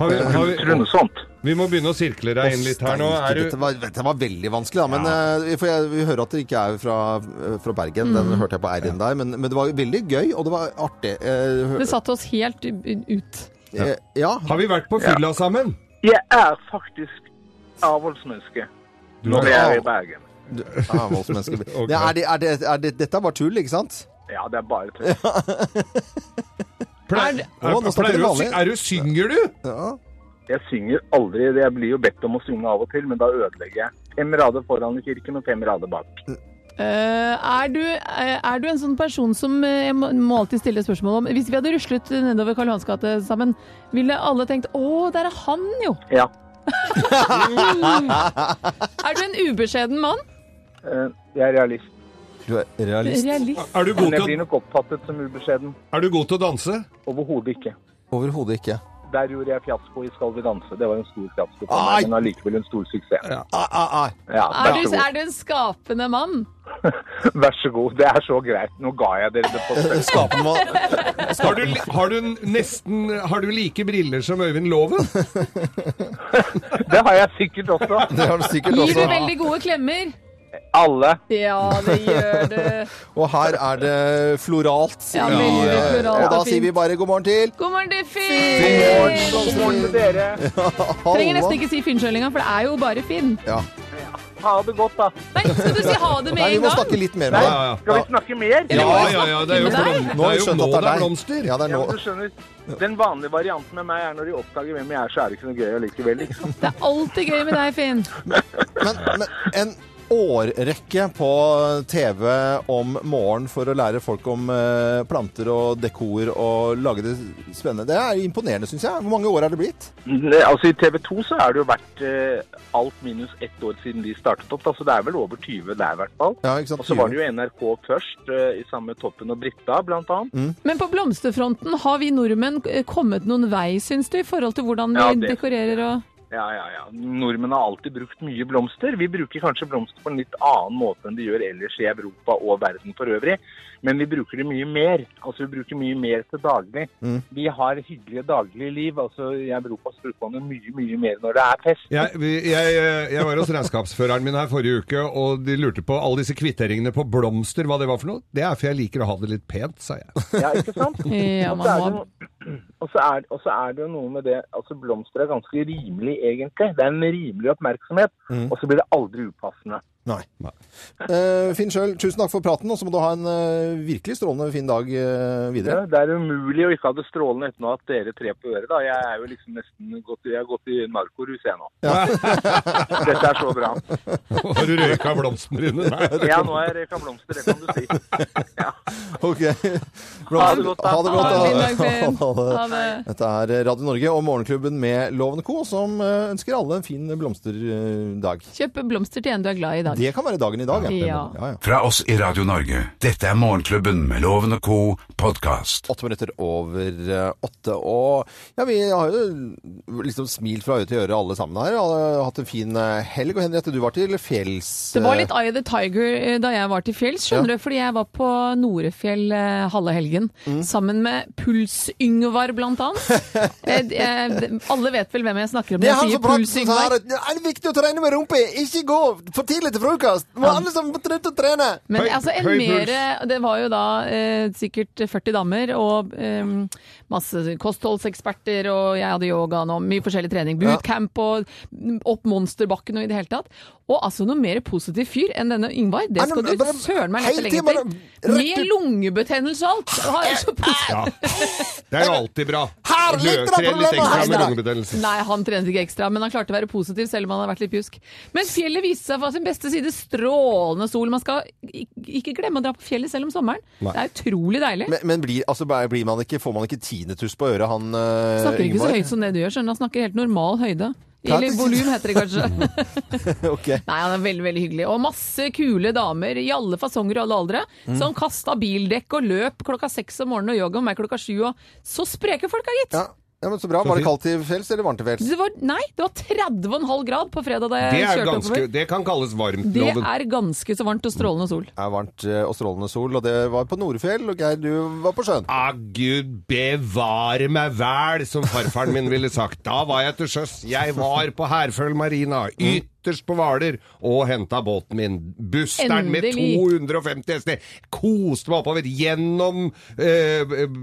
Speaker 4: Har vi, har
Speaker 7: Tror du
Speaker 4: vi,
Speaker 7: noe sånt?
Speaker 4: vi må begynne å sirkle deg inn litt her nå.
Speaker 2: Steike,
Speaker 4: Er
Speaker 2: dette,
Speaker 4: du
Speaker 2: var, dette var veldig vanskelig, da. Men eh, for jeg, vi hører at dere ikke er fra, eh, fra Bergen.
Speaker 4: Mm.
Speaker 2: Den hørte jeg på R-en der. Men, men det var veldig gøy, og det var artig. Eh, hø-
Speaker 3: Det satte oss helt ut.
Speaker 2: eh, ja.
Speaker 4: har vi vært på fylla sammen?
Speaker 7: Jeg er faktisk avholdsmenneske
Speaker 4: Du
Speaker 7: når
Speaker 4: har-
Speaker 7: jeg er i Bergen.
Speaker 2: Du, ja,
Speaker 4: [laughs]
Speaker 2: voldsmenneske.
Speaker 4: Ok.
Speaker 2: ja, er det, er det, er det, dette er bare tull, ikke sant?
Speaker 7: Ja, det er bare tull.
Speaker 3: Er-
Speaker 4: Pleier, er,
Speaker 2: Å, nå snakker
Speaker 4: pleier
Speaker 2: vi
Speaker 4: du å
Speaker 2: vanlig.
Speaker 4: sy- er du Synger du?
Speaker 2: Ja.
Speaker 7: Jeg synger aldri. Jeg blir jo bedt om å synge av og til, men da ødelegger jeg. Fem rader foran i kirken og fem rader bak.
Speaker 3: Eh, er, du, eh, er du en sånn person som eh, jeg må må alltid stille spørsmål om Hvis vi hadde ruslet nedover Karl Johans gate sammen, ville alle tenkt 'Å, der er han, jo'.
Speaker 7: Ja.
Speaker 3: Er du en ubeskjeden mann?
Speaker 7: eh, Jeg er realist.
Speaker 2: Du er realist.
Speaker 3: Realist.
Speaker 4: Er du god
Speaker 7: Men jeg
Speaker 4: til,
Speaker 7: blir nok oppfattet som ubeskjeden.
Speaker 4: å- er du god til å danse?
Speaker 7: Overhodet ikke.
Speaker 2: Overhodet ikke.
Speaker 7: Der gjorde jeg fiasko i Skal vi danse. Det var en stor fiasko for
Speaker 2: Ai!
Speaker 7: meg, men allikevel en stor suksess.
Speaker 2: Ah, ah, ah.
Speaker 7: Ja,
Speaker 3: Er
Speaker 7: vær
Speaker 3: du,
Speaker 7: så god.
Speaker 3: er du en skapende mann?
Speaker 7: Vær så god. Det er så greit. Nå ga jeg dere det på støtte.
Speaker 2: Skapende
Speaker 3: [laughs]
Speaker 2: mann.
Speaker 4: Har du, li- har du nesten Har du like briller som Øyvind Loven?
Speaker 7: Det har jeg sikkert også.
Speaker 2: Det har du sikkert
Speaker 3: Gir du
Speaker 2: også.
Speaker 3: veldig gode klemmer?
Speaker 7: Alle.
Speaker 3: Ja, det gjør
Speaker 7: [laughs]
Speaker 3: du.
Speaker 2: Og her er det floralt. sier
Speaker 3: Ja,
Speaker 2: vi. eh,
Speaker 3: veldig floralt
Speaker 2: Og da
Speaker 3: og fint.
Speaker 2: sier vi bare god morgen til
Speaker 3: God morgen, det er
Speaker 2: God
Speaker 3: Finn!
Speaker 2: morgen,
Speaker 7: God morgen til dere.
Speaker 3: Trenger
Speaker 2: Halva.
Speaker 3: nesten ikke si Finn-sjølinga, for det er jo bare Finn.
Speaker 7: Ha det godt, da.
Speaker 3: Nei, skal du si ha det med
Speaker 2: Nei, vi
Speaker 3: en
Speaker 2: må
Speaker 3: gang?
Speaker 2: snakke litt mer
Speaker 7: Nei,
Speaker 2: med deg.
Speaker 7: skal vi snakke mer?
Speaker 4: Ja, ja, ja. Det er
Speaker 3: Nei.
Speaker 4: jo, blom,
Speaker 2: Nå
Speaker 4: det
Speaker 2: har vi
Speaker 4: er jo
Speaker 2: skjønt
Speaker 4: nå
Speaker 2: at det er deg.
Speaker 4: blomster.
Speaker 2: Ja, det er
Speaker 7: Ja,
Speaker 2: nå.
Speaker 7: men du skjønner, Den vanlige varianten med meg er når de oppdager hvem jeg er, så er det ikke noe gøy allikevel. Liksom.
Speaker 3: Det er alltid gøy med deg, Finn.
Speaker 2: Men, men en årrekke på TV om morgenen for å lære folk om eh, planter og dekor og lage det spennende. Det er imponerende, syns jeg. Hvor mange år er det blitt?
Speaker 7: Det- Altså, I TV 2 så er det jo vært eh, alt minus ett år siden de startet opp. da, så det er vel over 20 der, i hvert fall.
Speaker 2: Ja, ikke sant?
Speaker 7: Og så var det jo NRK først, eh, i samme Toppen og Britta, blant annet.
Speaker 3: Men på blomsterfronten, har vi nordmenn eh, kommet noen vei, syns du, i forhold til hvordan vi
Speaker 7: Ja, det-
Speaker 3: dekorerer og
Speaker 7: Ja, ja, ja. Nordmenn har alltid brukt mye blomster. Vi bruker kanskje blomster på en litt annen måte enn de gjør ellers i Europa og verden for øvrig, men vi bruker det mye mer. Altså, vi bruker mye mer til daglig.
Speaker 2: Mm.
Speaker 7: Vi har hyggelige daglige liv. Altså, I Europa så bruker man det mye, mye mer når det er fest.
Speaker 4: Jeg, vi- jeg, eh, jeg var hos regnskapsføreren min her forrige uke, og de lurte på alle disse kvitteringene på blomster, hva det var for noe. Det er for jeg liker å ha det litt pent, sa jeg.
Speaker 7: Ja, ikke sant?
Speaker 3: [laughs] Ja,
Speaker 7: Og så
Speaker 3: man
Speaker 7: er det
Speaker 3: må-
Speaker 7: noe- Og så er, og så er det jo noe med det altså Blomster er ganske rimelig, egentlig. Det er en rimelig oppmerksomhet. Og så blir det aldri upassende.
Speaker 2: Nei. Eh, Finn sjøl, tusen takk for praten, og så må du ha en eh, virkelig strålende fin dag eh, videre.
Speaker 7: Ja, det er umulig å ikke ha det strålende uten å ha hatt dere tre på øret. da. Jeg er jo liksom nesten gått, jeg har gått i narkorus, jeg nå. [laughs] Dette er så bra.
Speaker 4: Har du røyka blomstene dine? Nei.
Speaker 7: Ja, nå er jeg reka blomster, det kan du si. Ja.
Speaker 2: Ok.
Speaker 7: Ha det godt, da.
Speaker 2: Ha det
Speaker 3: Ha en fin dag,
Speaker 2: [laughs]
Speaker 3: Finn.
Speaker 2: godt, da.
Speaker 3: Ha det.
Speaker 2: Dette er Radio Norge og Morgenklubben med Loven Co., som eh, ønsker alle en fin blomsterdag.
Speaker 3: Kjøp blomster til en du er glad i i dag.
Speaker 2: Det kan være dagen i dag.
Speaker 3: Ja.
Speaker 2: Ja, ja.
Speaker 1: Fra oss i Radio Norge. Dette er Morgenklubben med Loven og co. podkast.
Speaker 2: Åtte minutter over eh, åtte. Og ja, vi har jo liksom smilt fra øye til øre alle sammen her. Alle har hatt en fin eh, helg. Og Henriette, du var til fjells.
Speaker 3: Det var litt
Speaker 2: eh,
Speaker 3: Eye of the Tiger eh, da jeg var til fjells, skjønner du, fordi jeg var på Norefjell eh, halve helgen,
Speaker 2: Mm.
Speaker 3: sammen med Puls-Yngvar blant
Speaker 2: [laughs]
Speaker 3: annet. Eh, d- eh, alle vet vel hvem jeg snakker om
Speaker 2: Det er
Speaker 3: når
Speaker 2: han
Speaker 3: jeg
Speaker 2: som
Speaker 3: sier
Speaker 2: prater sånn her
Speaker 3: Puls-Yngvar.
Speaker 2: at, Er det viktig å trene med rumpe? Ikke gå for tidlig til frokost! Må alle som må slutte å trene!
Speaker 3: Men
Speaker 4: Høy-
Speaker 3: altså en
Speaker 4: høy puls.
Speaker 3: mere, det var jo da eh, sikkert 40 damer og eh, masse kostholdseksperter, og jeg hadde yogaen og mye forskjellig trening. Bootcamp og opp monsterbakken og i det hele tatt. Og altså noe mer positiv fyr enn denne Yngvar, det
Speaker 2: Nei,
Speaker 3: skal
Speaker 2: men
Speaker 3: du
Speaker 2: bare-
Speaker 3: søren meg lete
Speaker 2: hele
Speaker 3: lenge
Speaker 2: tiden
Speaker 3: til.
Speaker 2: bare- rett
Speaker 3: Med
Speaker 2: ut.
Speaker 3: lungebetennelse og alt! Det var jo så positivt.
Speaker 4: Ja. Det er jo alltid bra.
Speaker 2: Her
Speaker 4: Lø-
Speaker 2: ligger det
Speaker 4: tre litt
Speaker 2: problemet,
Speaker 4: ekstra
Speaker 2: her
Speaker 4: med
Speaker 2: ligger
Speaker 4: lungebetennelse.
Speaker 3: Nei, han trente ikke ekstra, men han klarte å være positiv selv om han hadde vært litt pjusk. Men fjellet viste seg fra sin beste side strålende sol. Man skal ik- ikke glemme å dra på fjellet selv om sommeren.
Speaker 4: Nei.
Speaker 3: Det er utrolig deilig.
Speaker 2: Men, men blir, altså, blir man ikke, får man ikke tinnitus på øret, han eh,
Speaker 3: Snakker ikke så
Speaker 2: Yngvar?
Speaker 3: høyt som det du gjør, skjønner du. Han snakker helt normal høyde.
Speaker 2: Ja,
Speaker 3: Eller
Speaker 2: det-
Speaker 3: volum, heter det kanskje.
Speaker 4: [laughs]
Speaker 3: [laughs]
Speaker 2: [laughs] Ok.
Speaker 3: Nei, han er veldig veldig hyggelig. Og masse kule damer i alle fasonger og alle aldre
Speaker 4: Mm.
Speaker 3: som kasta bildekk og løp klokka seks om morgenen og yoga med meg klokka sju. Og så spreke folk er, gitt!
Speaker 2: Ja. ja, men Så bra. Var det
Speaker 4: fint.
Speaker 2: kaldt til fjells eller varmt til fjells?
Speaker 3: Det var, nei, det var 30,5 grad på fredag da
Speaker 4: Det,
Speaker 3: jeg
Speaker 4: er
Speaker 3: kjørte
Speaker 4: ganske,
Speaker 3: oppover.
Speaker 4: det kan kalles varmt,
Speaker 3: Det
Speaker 4: Loven.
Speaker 3: er ganske så varmt og strålende sol.
Speaker 2: Det er varmt eh, og strålende sol, og det var på Norefjell, og Geir, du var på sjøen.
Speaker 4: Ah, Gud bevare meg vel, som farfaren min ville sagt. Da var jeg til sjøs. Jeg var på Herføl marina. Yt ytterst på Hvaler og henta båten min. Busteren med
Speaker 3: Endelig.
Speaker 4: 250 hester. Koste meg oppover gjennom, eh, eh,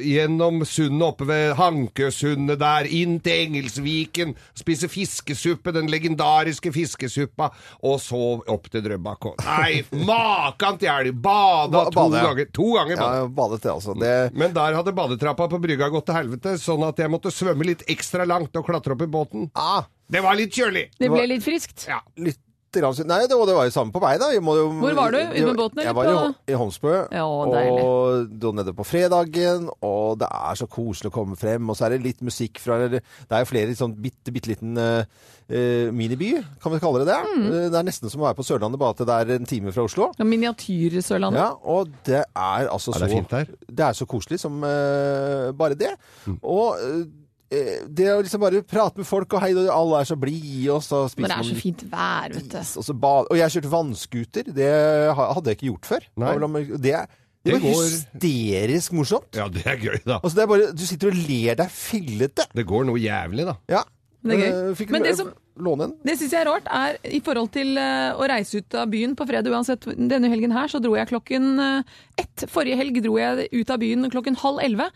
Speaker 4: gjennom sundet oppe ved Hankøsundet der, inn til Engelsviken, spise fiskesuppe, den legendariske fiskesuppa, og så opp til Drøbak. Og- Nei, makan til elg! Bada
Speaker 2: Ba-
Speaker 4: to
Speaker 2: badet, ja.
Speaker 4: ganger. To ganger badet.
Speaker 2: Ja, badet det, altså. Det,
Speaker 4: Men der hadde badetrappa på brygga gått til helvete, sånn at jeg måtte svømme litt ekstra langt og klatre opp i båten.
Speaker 2: ah,
Speaker 4: Det var litt kjølig!
Speaker 3: Det ble litt friskt.
Speaker 4: Ja.
Speaker 2: litt grann, synd. Nei, det, og det var jo samme på meg, da. Jeg må jo,
Speaker 3: Hvor var du? Ut med båten, eller
Speaker 2: Jeg var jo
Speaker 3: på-
Speaker 2: i Holmsbø.
Speaker 3: Ja,
Speaker 2: og da nede på fredagen, og det er så koselig å komme frem. Og så er det litt musikk fra Det er jo flere sånn bitte, bitte liten eh, eh, miniby, kan vi kalle det det.
Speaker 3: Mm.
Speaker 2: Eh, Det er nesten som å være på Sørlandet, bare at det er en time fra Oslo.
Speaker 3: Ja, Miniatyr-Sørlandet.
Speaker 2: Ja, og det er altså så
Speaker 4: Ja, det er fint der.
Speaker 2: Det er så koselig som eh, bare det.
Speaker 3: Mm.
Speaker 2: Og eh, det å liksom bare prate med folk, og hei, og alle er så blide, og så spiser
Speaker 3: Når det er så
Speaker 4: Liksom
Speaker 2: man
Speaker 3: fint vær, vet du.
Speaker 2: is, og så bad... Og jeg kjørte vannskuter, det ha- hadde jeg ikke gjort før.
Speaker 4: Nei.
Speaker 2: Det var vel- Det, er-
Speaker 4: Det
Speaker 2: det var
Speaker 4: går-
Speaker 2: hysterisk morsomt.
Speaker 4: ja, det er gøy, da.
Speaker 2: Altså, det er bare, du sitter og ler deg fillete.
Speaker 4: Det går noe jævlig, da.
Speaker 2: Ja.
Speaker 3: Det er gøy.
Speaker 2: Eh, Fikk
Speaker 3: Men det
Speaker 2: eh,
Speaker 3: som-
Speaker 2: låne en.
Speaker 3: Det syns jeg er rart, er i forhold til eh, å reise ut av byen på fredag uansett. Denne helgen her så dro jeg klokken eh, ett. Forrige helg dro jeg ut av byen klokken halv elleve.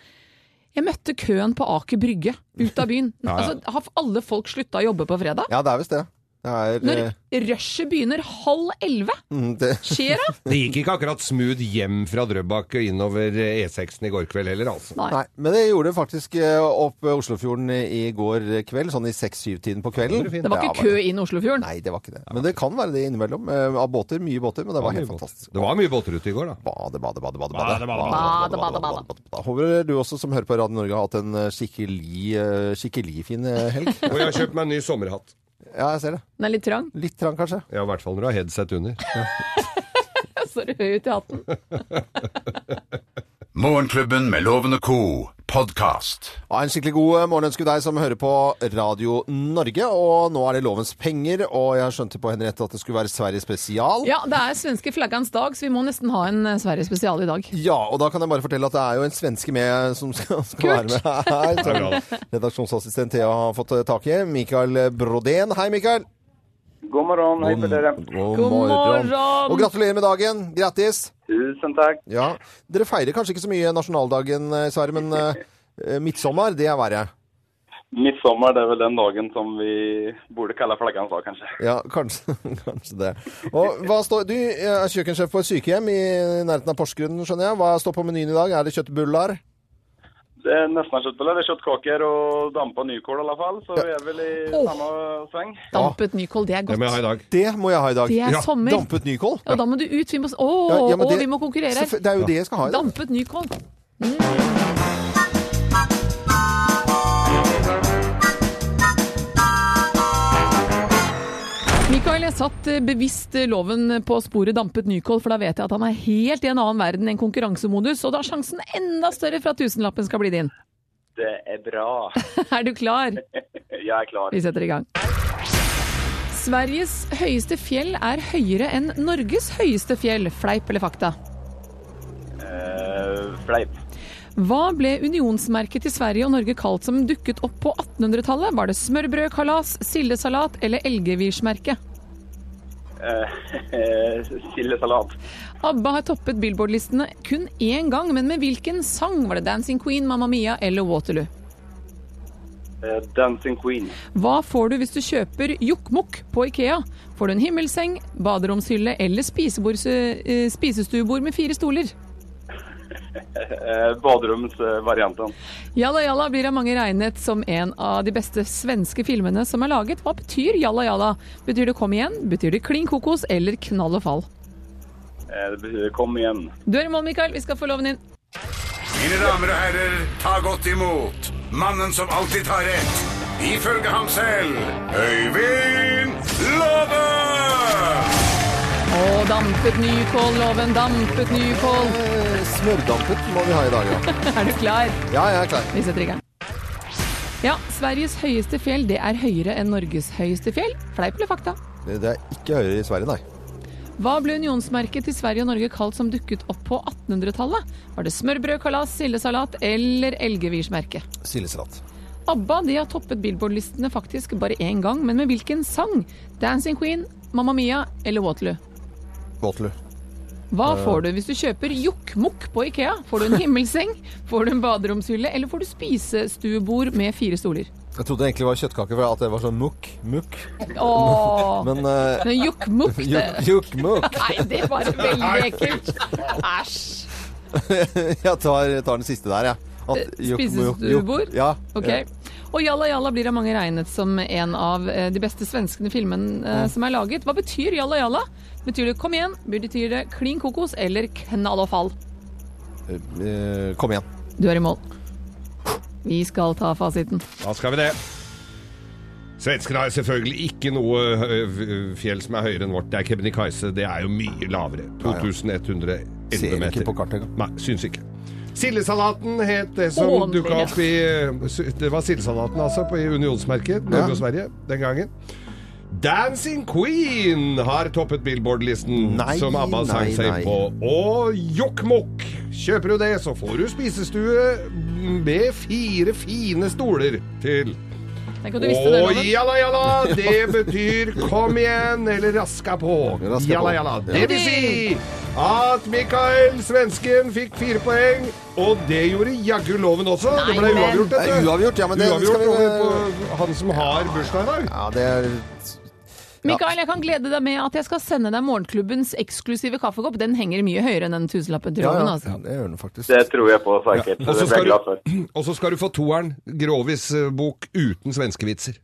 Speaker 3: Jeg møtte køen på Aker Brygge ut av
Speaker 2: [laughs]
Speaker 3: byen.
Speaker 4: Ja, ja.
Speaker 3: Altså, Har alle folk slutta å jobbe på fredag?
Speaker 2: Ja, det er visst det. Det er
Speaker 3: Når
Speaker 2: eh,
Speaker 3: rushet begynner halv elleve,
Speaker 2: mm, det,
Speaker 3: skjer det?
Speaker 4: Det gikk ikke akkurat smooth hjem fra Drøbak og innover eh, E6-en i går kveld heller, altså.
Speaker 3: Nei.
Speaker 2: Nei, men det gjorde det faktisk eh, opp eh, Oslofjorden i går kveld, sånn i 6-7-tiden på kvelden.
Speaker 4: Det var fint.
Speaker 3: Det var
Speaker 2: [laughs] Ja,
Speaker 3: ikke kø inn Oslofjorden.
Speaker 2: Nei, det var ikke det. Men det kan være det innimellom. eh, Av båter, mye båter, men det var helt fantastisk.
Speaker 4: Det var mye båtrute i går, da.
Speaker 2: Bade, bade, bade, bade.
Speaker 4: Bade, bade, bade,
Speaker 3: bade, bade, bade.
Speaker 2: bade. Håper du også som hører på Radio Norge har hatt en eh, skikkelig, eh, skikkelig fin eh, helg.
Speaker 3: [laughs]
Speaker 4: Og jeg har kjøpt meg en ny sommerhatt.
Speaker 2: Ja, jeg ser det.
Speaker 3: Den er litt trang. [laughs]
Speaker 2: Litt trang, kanskje.
Speaker 4: Ja, i hvert fall når du har headset under.
Speaker 3: Jeg står høy ut i hatten.
Speaker 1: Morgenklubben med Loven og Co. Podcast.
Speaker 2: Ja, en skikkelig god eh, morgen ønsker vi deg som hører på Radio Norge. Og nå er det lovens penger, og jeg skjønte på Henriette at det skulle være Sverige spesial.
Speaker 3: Ja, det er svenske flaggans dag, så vi må nesten ha en eh, Sverige spesial i dag.
Speaker 2: Ja, og da kan jeg bare fortelle at det er jo en svenske med som skal, skal være
Speaker 3: Kult.
Speaker 2: med her. Som redaksjonsassistent Thea har fått eh, tak i. Mikael eh, Brodén. Hei, Mikael.
Speaker 8: God morgon, hei på dere.
Speaker 3: God morgen!
Speaker 2: Og gratulerer med dagen. Grattis.
Speaker 8: Tusen takk.
Speaker 2: Ja. Dere feirer kanskje ikke så mye nasjonaldagen eh, i Sverige, men eh, midtsommer, det er verre.
Speaker 8: Midsommar det er vel den dagen som vi burde kalle flaggans dag, kanskje.
Speaker 2: Ja, kanskje, [laughs] kanskje det. Og hva står, Du er kjøkkensjef på et sykehjem i nærheten av Porsgrunn, skjønner jeg. Hva står på menyen i dag? Er det kjøttbuller?
Speaker 8: Det er nesten kjøttboller, det er kjøttkaker og dampa nykål i alle fall, så vi er vel i
Speaker 3: Åh.
Speaker 8: samme sveng.
Speaker 3: Dampet nykål, det er
Speaker 4: Det
Speaker 3: godt.
Speaker 4: må jeg ha i dag.
Speaker 2: Det må jeg ha i dag.
Speaker 3: Det er sommer.
Speaker 2: Dampet nykål.
Speaker 3: Ja, da må du ut. Vi må, å,
Speaker 2: Ja, ja, men
Speaker 3: å,
Speaker 2: det-
Speaker 3: vi må konkurrere
Speaker 2: Selvfø-
Speaker 3: her.
Speaker 2: Det er jo det jeg skal ha i dag.
Speaker 3: Dampet Mm. nykål. Mikael, jeg satt eh, bevisst eh, loven på sporet dampet nykål, for da vet jeg at han er helt i en annen verden enn konkurransemodus, og da er sjansen enda større for at tusenlappen skal bli din.
Speaker 8: Det er bra.
Speaker 3: [laughs] Er du klar?
Speaker 8: [laughs] Jeg er klar.
Speaker 3: Vi setter i gang. Sveriges høyeste fjell er høyere enn Norges høyeste fjell. Fleip eller fakta?
Speaker 8: Eh, fleip.
Speaker 3: Hva ble unionsmerket til Sverige og Norge kalt som dukket opp på 1800-tallet? Var det smørbrød, kalas, sildesalat eller elgevirsmerket?
Speaker 8: Eh, [laughs] Sildesalat.
Speaker 3: ABBA har toppet Billboard-listene kun én gang, men med hvilken sang? Var det Dancing Queen, Mamma Mia eller Waterloo?
Speaker 8: Eh, Dancing Queen.
Speaker 3: Hva får du hvis du kjøper jokkmokk på Ikea? Får du en himmelseng, baderomshylle eller spisebords- eh, spisestuebord med fire stoler?
Speaker 8: Eh, Baderomsvarianten.
Speaker 3: Jalla Jalla blir av mange regnet som en av de beste svenske filmene som er laget. Hva betyr Jalla Jalla? Betyr det kom igjen? Betyr det klin kokos eller knall og fall?
Speaker 8: Eh, det betyr kom igjen.
Speaker 3: Du er i mål, Mikael. Vi skal få loven inn.
Speaker 1: Mine damer og herrer, ta godt imot mannen som alltid tar rett. Ifølge ham selv Øyvind Låve!
Speaker 3: Å, dampet nykål, loven. Dampet nykål.
Speaker 2: Eh, Smørdampet må vi ha i dag, ja.
Speaker 3: [laughs] Er du klar?
Speaker 2: Ja, jeg er klar.
Speaker 3: Vi setter i gang. Ja, Sveriges høyeste fjell det er høyere enn Norges høyeste fjell. Fleip eller fakta?
Speaker 2: Det det er ikke høyere i Sverige, nei.
Speaker 3: Hva ble unionsmerket til Sverige og Norge kalt som dukket opp på 1800-tallet? Var det smørbrød, kalas, sildesalat eller elgevirsmerket?
Speaker 2: Sildesalat.
Speaker 3: ABBA de har toppet Billboard-listene faktisk bare én gang, men med hvilken sang? Dancing Queen, Mamma Mia eller Waterloo?
Speaker 2: Waterloo.
Speaker 3: Hva får du hvis du kjøper jokkmokk på Ikea? Får du en himmelseng, får du en baderomshylle, eller får du spisestuebord med fire stoler?
Speaker 2: Jeg trodde egentlig det var kjøttkake, for at det var sånn mukk, mukk.
Speaker 3: Åh,
Speaker 2: Men uh,
Speaker 3: men jokkmokk, det
Speaker 2: juk, mukk. [laughs]
Speaker 3: Nei, det var veldig ekkelt. Æsj.
Speaker 2: Jeg tar, tar den siste der, jeg. At
Speaker 3: Eh,
Speaker 2: juk, mukk, juk.
Speaker 3: Spisestuebord?
Speaker 2: Ja.
Speaker 3: Ok. Og Jalla Jalla blir av mange regnet som en av eh, de beste svenskene filmen eh, som er laget. Hva betyr Jalla Jalla? Betyr det kom igjen? Betyr det klin kokos eller knall og fall?
Speaker 2: Eh, eh, Kom igjen.
Speaker 3: Du er i mål. Vi skal ta fasiten.
Speaker 4: Da skal vi det. Svenskene har selvfølgelig ikke noe ø, ø, fjell som er høyere enn vårt. Det er Kebnekaise. Det er jo mye lavere. 2111 meter.
Speaker 2: Ser ikke på kartet engang.
Speaker 4: Nei, syns ikke. Sildesalaten het det
Speaker 3: Å,
Speaker 4: som
Speaker 3: dere.
Speaker 4: dukka opp i ø, Det var sildesalaten, altså, på i unionsmerket Norge og Sverige den gangen. Dancing Queen har toppet Billboard-listen
Speaker 2: Nei,
Speaker 4: som ABBA sang
Speaker 2: nei, nei.
Speaker 4: seg på. Og jokkmokk! Kjøper du det, så får du spisestue med fire fine stoler til.
Speaker 3: Tenk at du visste det,
Speaker 4: Og
Speaker 3: Loven.
Speaker 4: jalla, jalla, det betyr kom igjen eller raska på.
Speaker 2: Raska på.
Speaker 4: Jalla, jalla. Det vil si at Mikael, svensken, fikk fire poeng, og det gjorde jaggu loven også. Det ble
Speaker 3: men-
Speaker 4: uavgjort,
Speaker 2: Det
Speaker 4: dette.
Speaker 2: er uavgjort, ja, men det skal
Speaker 4: uavgjort
Speaker 2: vi-
Speaker 4: over på han som har bursdag i dag.
Speaker 2: Ja, det er
Speaker 3: Mikael, jeg kan glede deg med at jeg skal sende deg morgenklubbens eksklusive kaffekopp. Den henger mye høyere enn den tusenlappen til
Speaker 2: Ja,
Speaker 3: Loven,
Speaker 2: ja.
Speaker 3: altså.
Speaker 2: Det gjør den faktisk.
Speaker 8: Det tror jeg på, sikkert.
Speaker 4: Og
Speaker 8: Det
Speaker 4: så
Speaker 8: ble jeg
Speaker 4: skal,
Speaker 8: glad for.
Speaker 4: du, og så skal du få toeren, Grovis eh, bok uten svenskevitser.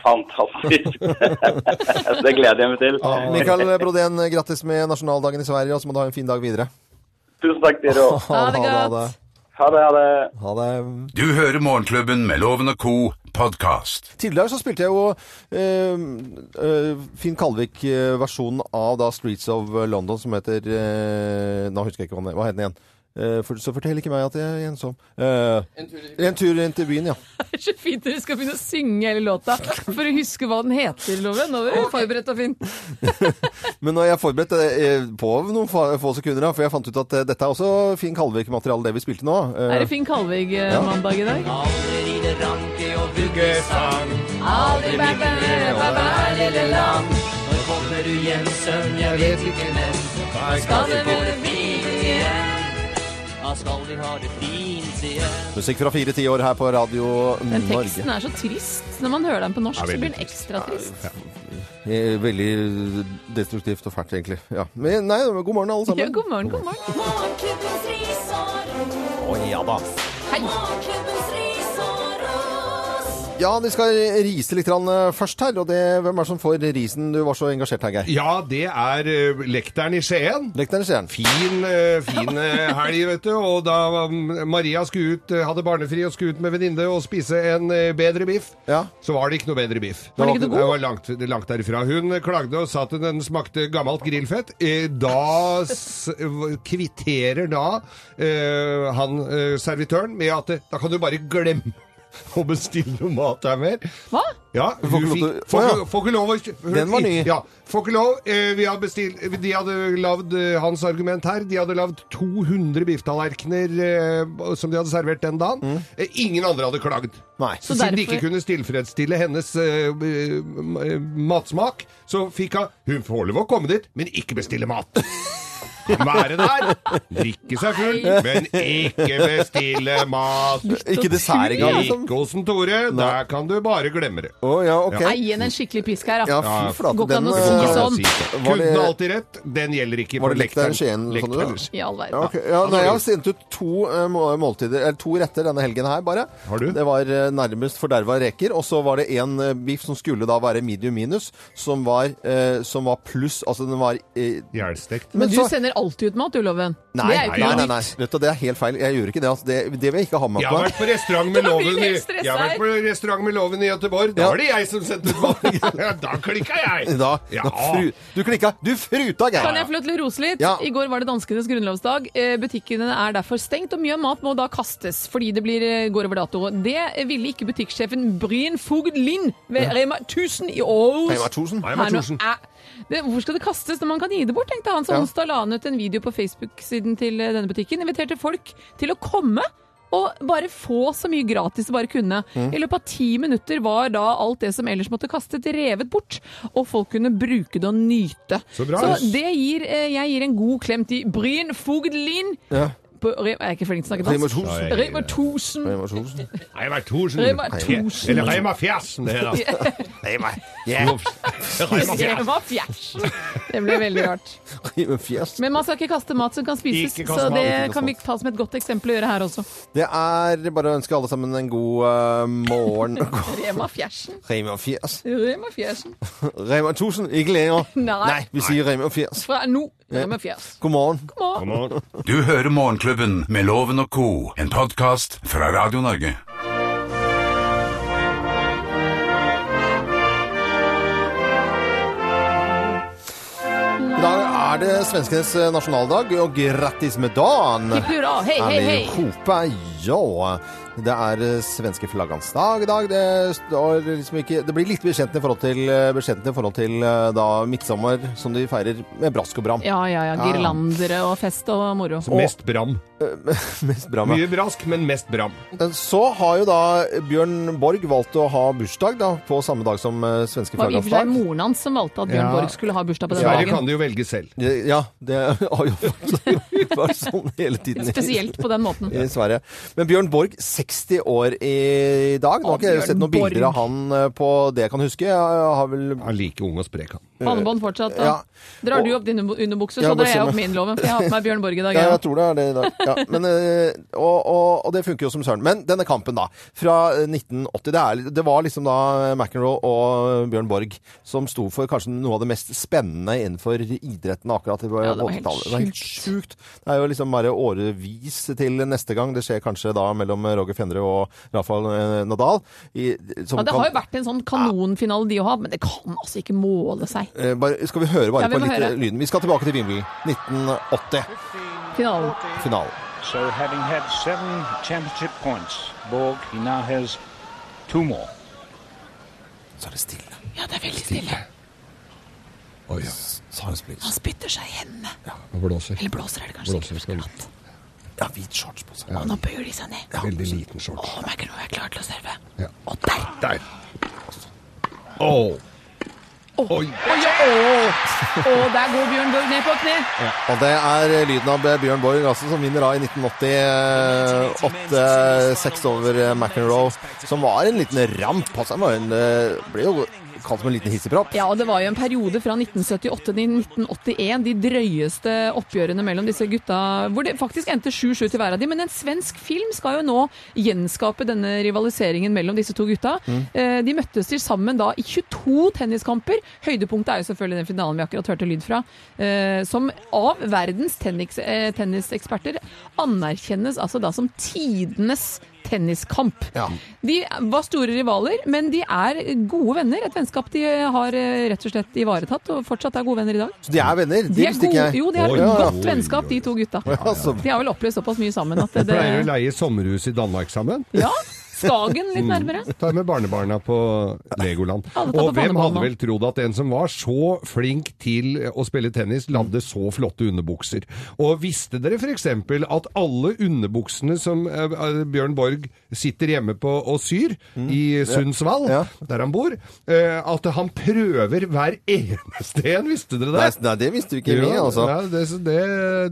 Speaker 8: Fantastisk.
Speaker 4: [laughs]
Speaker 8: [laughs] det gleder jeg meg til.
Speaker 2: Mikael Brodén, grattis med nasjonaldagen i Sverige, og så må du ha en fin dag videre.
Speaker 8: Tusen takk, dere
Speaker 4: [laughs]
Speaker 8: òg.
Speaker 3: Ha det
Speaker 2: Ha
Speaker 3: godt.
Speaker 2: det.
Speaker 8: Ha det, ha det.
Speaker 2: Ha det.
Speaker 1: Du hører Morgenklubben med Loven og Co. podkast.
Speaker 2: Tidligere så spilte jeg jo eh, eh, Finn Kalvik-versjonen av da Streets of London som heter eh, Nå husker jeg ikke hva den, hva het den igjen. Eh, for, så fortell ikke meg at jeg er ensom. Eh, en tur inn til byen, ja.
Speaker 3: [laughs] Det er så fint dere skal begynne å synge hele låta for å huske hva den heter, Loven. Nå er du forberedt og fin.
Speaker 2: Men når jeg forberedte eh, på noen fa få sekunder, da, for jeg fant ut at eh, dette er også Finn Kalvik-materiale, det vi spilte nå. Eh,
Speaker 3: Er det Finn Kalvig-mandag i dag? Aldri bæ, bæ, bæ, bæ, lille lam.
Speaker 2: musikk fra fire tiår her på Radio
Speaker 3: Den
Speaker 2: Norge.
Speaker 3: teksten er så trist. Når man hører den på norsk,
Speaker 4: Ja,
Speaker 3: så
Speaker 4: veldig
Speaker 3: blir den ekstra trist.
Speaker 2: Eh, Veldig destruktivt og fælt, egentlig. Ja. Men nei, god morgen, alle
Speaker 3: Ja,
Speaker 2: sammen.
Speaker 3: god morgen, god morgen.
Speaker 6: Morgenklubbens risår.
Speaker 2: ja da.
Speaker 3: Hei.
Speaker 6: Morgenklubbens risår og
Speaker 2: Ja, de skal rise litt grann eh, først her, og det, hvem er det som får risen? Du var så engasjert her, Geir.
Speaker 4: Ja, det er eh, lekteren i Skien.
Speaker 2: Lekteren sier han.
Speaker 4: Fin, eh, fin eh, helg, vet du. Og da mm, Maria skulle ut, eh, hadde barnefri og skulle ut med venninne og spise en eh, bedre biff,
Speaker 2: Ja.
Speaker 4: så var det ikke noe bedre biff.
Speaker 3: Var den ikke noe god?
Speaker 4: Det var langt, langt derifra. Hun eh, klagde og sa at den smakte gammelt grillfett. Eh, Da s kvitterer da eh, han eh, servitøren med at eh, da kan du bare glemme [laughs] å bestille noe mat her mer.
Speaker 3: Hva?
Speaker 4: Ja,
Speaker 2: får
Speaker 4: hun
Speaker 2: ikke lov
Speaker 4: fikk,
Speaker 2: til-
Speaker 4: får,
Speaker 2: Å, ja.
Speaker 4: ikke- får ikke lov å kjø-
Speaker 2: Den var ny.
Speaker 4: Ja, får ikke lov. Eh, Vi hadde bestilt, de hadde lagd hans argument her. De hadde lagd 200 bifftallerkener eh, som de hadde servert den dagen.
Speaker 2: Mm.
Speaker 4: Eh, Ingen andre hadde klagd.
Speaker 2: Nei.
Speaker 4: Så,
Speaker 3: Så
Speaker 4: siden de
Speaker 3: derfor-
Speaker 4: ikke kunne tilfredsstille hennes eh, eh, matsmak, så fikk hun Hun får lov å komme dit, men ikke bestille mat. Være der, drikke seg full, men ikke bestille mat.
Speaker 2: Ikke dessert engang, liksom.
Speaker 4: Ikke hos en Tore. Der kan du bare glemme det.
Speaker 2: Å ja, ok.
Speaker 3: Nei, gi henne en skikkelig pisk her,
Speaker 2: Ja,
Speaker 3: da.
Speaker 2: fy flate.
Speaker 3: Går ikke an
Speaker 2: Den
Speaker 3: å
Speaker 2: eh,
Speaker 3: si sånn.
Speaker 2: Var
Speaker 4: Kunden
Speaker 2: det-
Speaker 4: har alltid rett. Den gjelder ikke
Speaker 2: Var
Speaker 4: for
Speaker 2: det lekteren
Speaker 4: lekteren.
Speaker 2: Skien, sånn det var?
Speaker 3: I all
Speaker 2: ja, ok.
Speaker 3: verden.
Speaker 2: ja, nei, Jeg har sendt ut to eh, må- måltider, eller to retter denne helgen her, bare.
Speaker 4: Har du?
Speaker 2: Det var eh, nærmest forderva reker, og så var det en eh, biff som skulle da være medium minus, som var, eh, som var pluss, altså den var eh,
Speaker 4: Jernstekt.
Speaker 3: Men du
Speaker 2: så-
Speaker 3: sender alltid ut mat, du, Loven.
Speaker 2: Nei,
Speaker 3: Det er jo
Speaker 2: nei,
Speaker 3: ikke
Speaker 2: nei,
Speaker 3: noe
Speaker 2: nei.
Speaker 3: nytt.
Speaker 2: Vet du, det er helt feil. Jeg gjør ikke det. Altså. Det, det vil jeg ikke ha med
Speaker 4: Jeg har
Speaker 2: meg.
Speaker 4: vært på restaurant
Speaker 2: [laughs]
Speaker 3: Da
Speaker 4: med
Speaker 3: blir
Speaker 4: loven i,
Speaker 3: jeg stresset
Speaker 4: jeg har vært på restaurant med loven i Gøteborg. Da
Speaker 2: Ja.
Speaker 4: var det jeg som sendte ut
Speaker 2: [laughs]
Speaker 4: maten. Da klikka jeg!
Speaker 2: Da,
Speaker 4: ja.
Speaker 2: da fru, du klikka! Du fruta, Geir!
Speaker 3: Kan jeg få lov til å rose litt?
Speaker 2: Ja.
Speaker 3: I går var det danskenes grunnlovsdag. Eh, Butikkene er derfor stengt, og mye av mat må da kastes fordi det blir, eh, går over dato. Det ville ikke butikksjefen Bryn Fogd Lind ved Rema 1000 i Ås.
Speaker 2: Reimer Thorsen.
Speaker 4: Nei, men
Speaker 3: Her nå
Speaker 4: Thorsen.
Speaker 3: er- det, hvor skal det kastes når man kan gi det bort, tenkte han. Så
Speaker 2: Ja.
Speaker 3: onsdag la han ut en video på Facebook-siden til eh, denne butikken. Inviterte folk til å komme Og bare få så mye gratis de bare kunne. I løpet av ti minutter var da alt det som ellers måtte kastet, revet bort. Og folk kunne bruke det og nyte.
Speaker 4: Så bra.
Speaker 3: det gir, eh, jeg gir en god klem til Bryn Fogdelin.
Speaker 2: Ja.
Speaker 3: På, Re- jeg er ikke flink til å snakke
Speaker 2: Rema
Speaker 3: dansk.
Speaker 2: 1000.
Speaker 3: Rema 1000.
Speaker 2: Rema 1000.
Speaker 4: Reima Thorsen.
Speaker 3: Reima Thorsen.
Speaker 4: Eller Reima Fjersen, det
Speaker 3: [laughs]
Speaker 4: heter.
Speaker 2: Rema yeah.
Speaker 4: Reima Fjersen.
Speaker 3: Rema Fjersen. Det ble veldig rart.
Speaker 2: Rema Fjersen.
Speaker 3: Men man skal ikke kaste mat som kan spises,
Speaker 4: Ikke kaste
Speaker 3: så
Speaker 4: mat,
Speaker 3: det
Speaker 2: ikke kaste
Speaker 3: kan vi
Speaker 2: mat.
Speaker 3: ta som et godt eksempel å gjøre her også.
Speaker 2: Det er bare å ønske alle sammen en god eh,
Speaker 4: [laughs]
Speaker 2: morgen.
Speaker 3: Rema Fjersen.
Speaker 2: Rema Fjersen.
Speaker 3: Rema Fjersen.
Speaker 2: Rema 1000, ikke lenger.
Speaker 3: [laughs] Nei.
Speaker 2: vi sier Rema Fjersen.
Speaker 3: Fra nå. Rema Fjers.
Speaker 2: God morgen.
Speaker 3: God morgen.
Speaker 1: Du hører Morgenklubben med Loven og Co. En podkast fra Radio Norge.
Speaker 2: I dag er det svenskenes eh, nasjonaldag, og grattis med dagen!
Speaker 3: Hipp hurra. Hei, hei,
Speaker 2: Er vi
Speaker 3: hei.
Speaker 2: hopa? Ja. Det er eh, svenske flaggans dag i dag. Det, står liksom ikke, det blir litt bekjent i forhold til, eh, bekjent i forhold til eh, da midtsommer, som de feirer med brask og bram.
Speaker 3: Ja, ja, ja. Girlandere og fest og moro.
Speaker 4: Mest bram.
Speaker 2: Mest bram, ja.
Speaker 4: Mye brask, men mest bram.
Speaker 2: Så har jo da Bjørn Borg valgt å ha bursdag da, på samme dag som eh, svenske
Speaker 3: Det var i og for seg
Speaker 2: flaggans dag.
Speaker 3: moren hans som valgte at Bjørn
Speaker 4: Ja.
Speaker 3: Borg skulle ha bursdag på den
Speaker 4: Sverige
Speaker 3: dagen.
Speaker 4: kan det jo velge selv.
Speaker 2: Ja, det [laughs] har jo vært- vært sånn hele tiden.
Speaker 3: Spesielt på den
Speaker 2: [laughs]
Speaker 3: måten.
Speaker 2: i Sverige. Men Bjørn Borg, 60 år i dag. Nå har
Speaker 3: Å,
Speaker 2: ikke jeg
Speaker 3: Bjørn
Speaker 2: sett noen bilder av
Speaker 3: Borg.
Speaker 2: han eh, på det jeg kan huske. Jeg har vel
Speaker 4: Han er like ung og sprek, han.
Speaker 3: Pannebånd fortsatt. Da.
Speaker 2: Ja.
Speaker 3: Drar du
Speaker 2: Og-
Speaker 3: opp din underbukse,
Speaker 2: Ja,
Speaker 3: så
Speaker 2: bare
Speaker 3: drar jeg
Speaker 2: se
Speaker 3: opp
Speaker 2: meg.
Speaker 3: min, loven. For jeg har på meg Bjørn Borg i dag.
Speaker 2: ja,
Speaker 3: jeg
Speaker 2: jeg tror det er det i dag. Ja, men, eh, og, og, og det funker jo som søren. Men denne kampen, da. Fra eh, 1980. Det, er, det var liksom da McEnroe og eh, Bjørn Borg som sto for kanskje noe av det mest spennende innenfor idretten akkurat på
Speaker 3: Ja, det var helt
Speaker 2: 80-tallet. Det var helt sjukt. Det er jo liksom bare årevis til neste gang. Det skjer kanskje da mellom Roger Fenre og Rafael eh, Nadal. I, som
Speaker 3: Ja, det har
Speaker 2: kan-
Speaker 3: jo vært en sånn kanonfinale de har hatt, men det kan altså ikke måle seg.
Speaker 2: Eh, bare, skal vi høre bare
Speaker 3: Ja, vi
Speaker 2: på
Speaker 3: må
Speaker 2: litt
Speaker 3: høre.
Speaker 2: eh, lyden? Vi skal tilbake til Wimbledon. 1980.
Speaker 3: Finalen.
Speaker 2: Finalen.
Speaker 9: So having had seven championship points, Borg, he now has two more.
Speaker 2: Så er det stille.
Speaker 3: Ja, det er veldig stille.
Speaker 4: Oi, ja.
Speaker 3: Han spytter seg i hendene.
Speaker 4: Han blåser.
Speaker 3: Eller blåser, er det kanskje.
Speaker 4: Blåser,
Speaker 3: ikke
Speaker 4: skal du-
Speaker 3: akkurat.
Speaker 2: Ja, hvit shorts på seg.
Speaker 3: Og nå bøyer de seg ned.
Speaker 4: Veldig liten shorts.
Speaker 3: Å, merker du, jeg er klar til å serve.
Speaker 4: Ja.
Speaker 3: Og der!
Speaker 4: Der. Åh. Oi.
Speaker 3: Og der går Bjørn Borg ned på kne.
Speaker 2: Og det er lyden av Bjørn Borg altså, som vinner da i 1988. Seks over eh, McEnroe, som var en liten ramp. Altså, han var en, eh, ble jo kalt som en liten hissepropp.
Speaker 3: Ja, og det var jo en periode fra 1978 til 1981, de drøyeste oppgjørene mellom disse gutta, hvor det faktisk endte 7-7 til hver av de, men en svensk film skal jo nå gjenskape denne rivaliseringen mellom disse to gutta. Eh, De møttes til sammen da i 22 tenniskamper. Høydepunktet er jo selvfølgelig den finalen vi akkurat hørte lyd fra, eh, som av verdens tennis, eh, tenniseksperter anerkjennes altså da som tidenes tenniskamp.
Speaker 2: Ja.
Speaker 3: De var store rivaler, men de er gode venner. Et vennskap de har eh, rett og slett ivaretatt, og fortsatt er gode venner i dag.
Speaker 2: Så de er venner.
Speaker 3: De
Speaker 2: Det
Speaker 3: er
Speaker 2: visste ikke
Speaker 3: gode,
Speaker 2: jeg. [laughs] Altså,
Speaker 3: jo, de har
Speaker 4: Oi,
Speaker 3: et
Speaker 4: ja.
Speaker 3: godt vennskap, de to gutta.
Speaker 2: Ja, så-
Speaker 3: De har vel opplevd såpass mye sammen at det,
Speaker 4: Pleier å
Speaker 3: det
Speaker 4: leie sommerhus i Danmark sammen.
Speaker 3: [laughs] Ja,
Speaker 4: Mm.
Speaker 3: Skagen litt nærmere.
Speaker 2: Mm.
Speaker 4: Ta med barnebarna på Legoland.
Speaker 3: Alle tar på
Speaker 4: Og hvem
Speaker 3: barnebarna.
Speaker 4: hadde vel trodd at en som var så flink til å spille tennis, lagde så flotte underbukser? Og visste dere f.eks. at alle underbuksene som eh, eh, Bjørn Borg sitter hjemme på og syr, i Sundsvall,
Speaker 2: Mm. Ja.
Speaker 4: der han bor, eh, at han prøver hver eneste en? Visste dere
Speaker 2: Nei,
Speaker 4: det?
Speaker 2: s- nei, det visste ikke vi,
Speaker 4: Ja,
Speaker 2: altså.
Speaker 4: ja, det, det,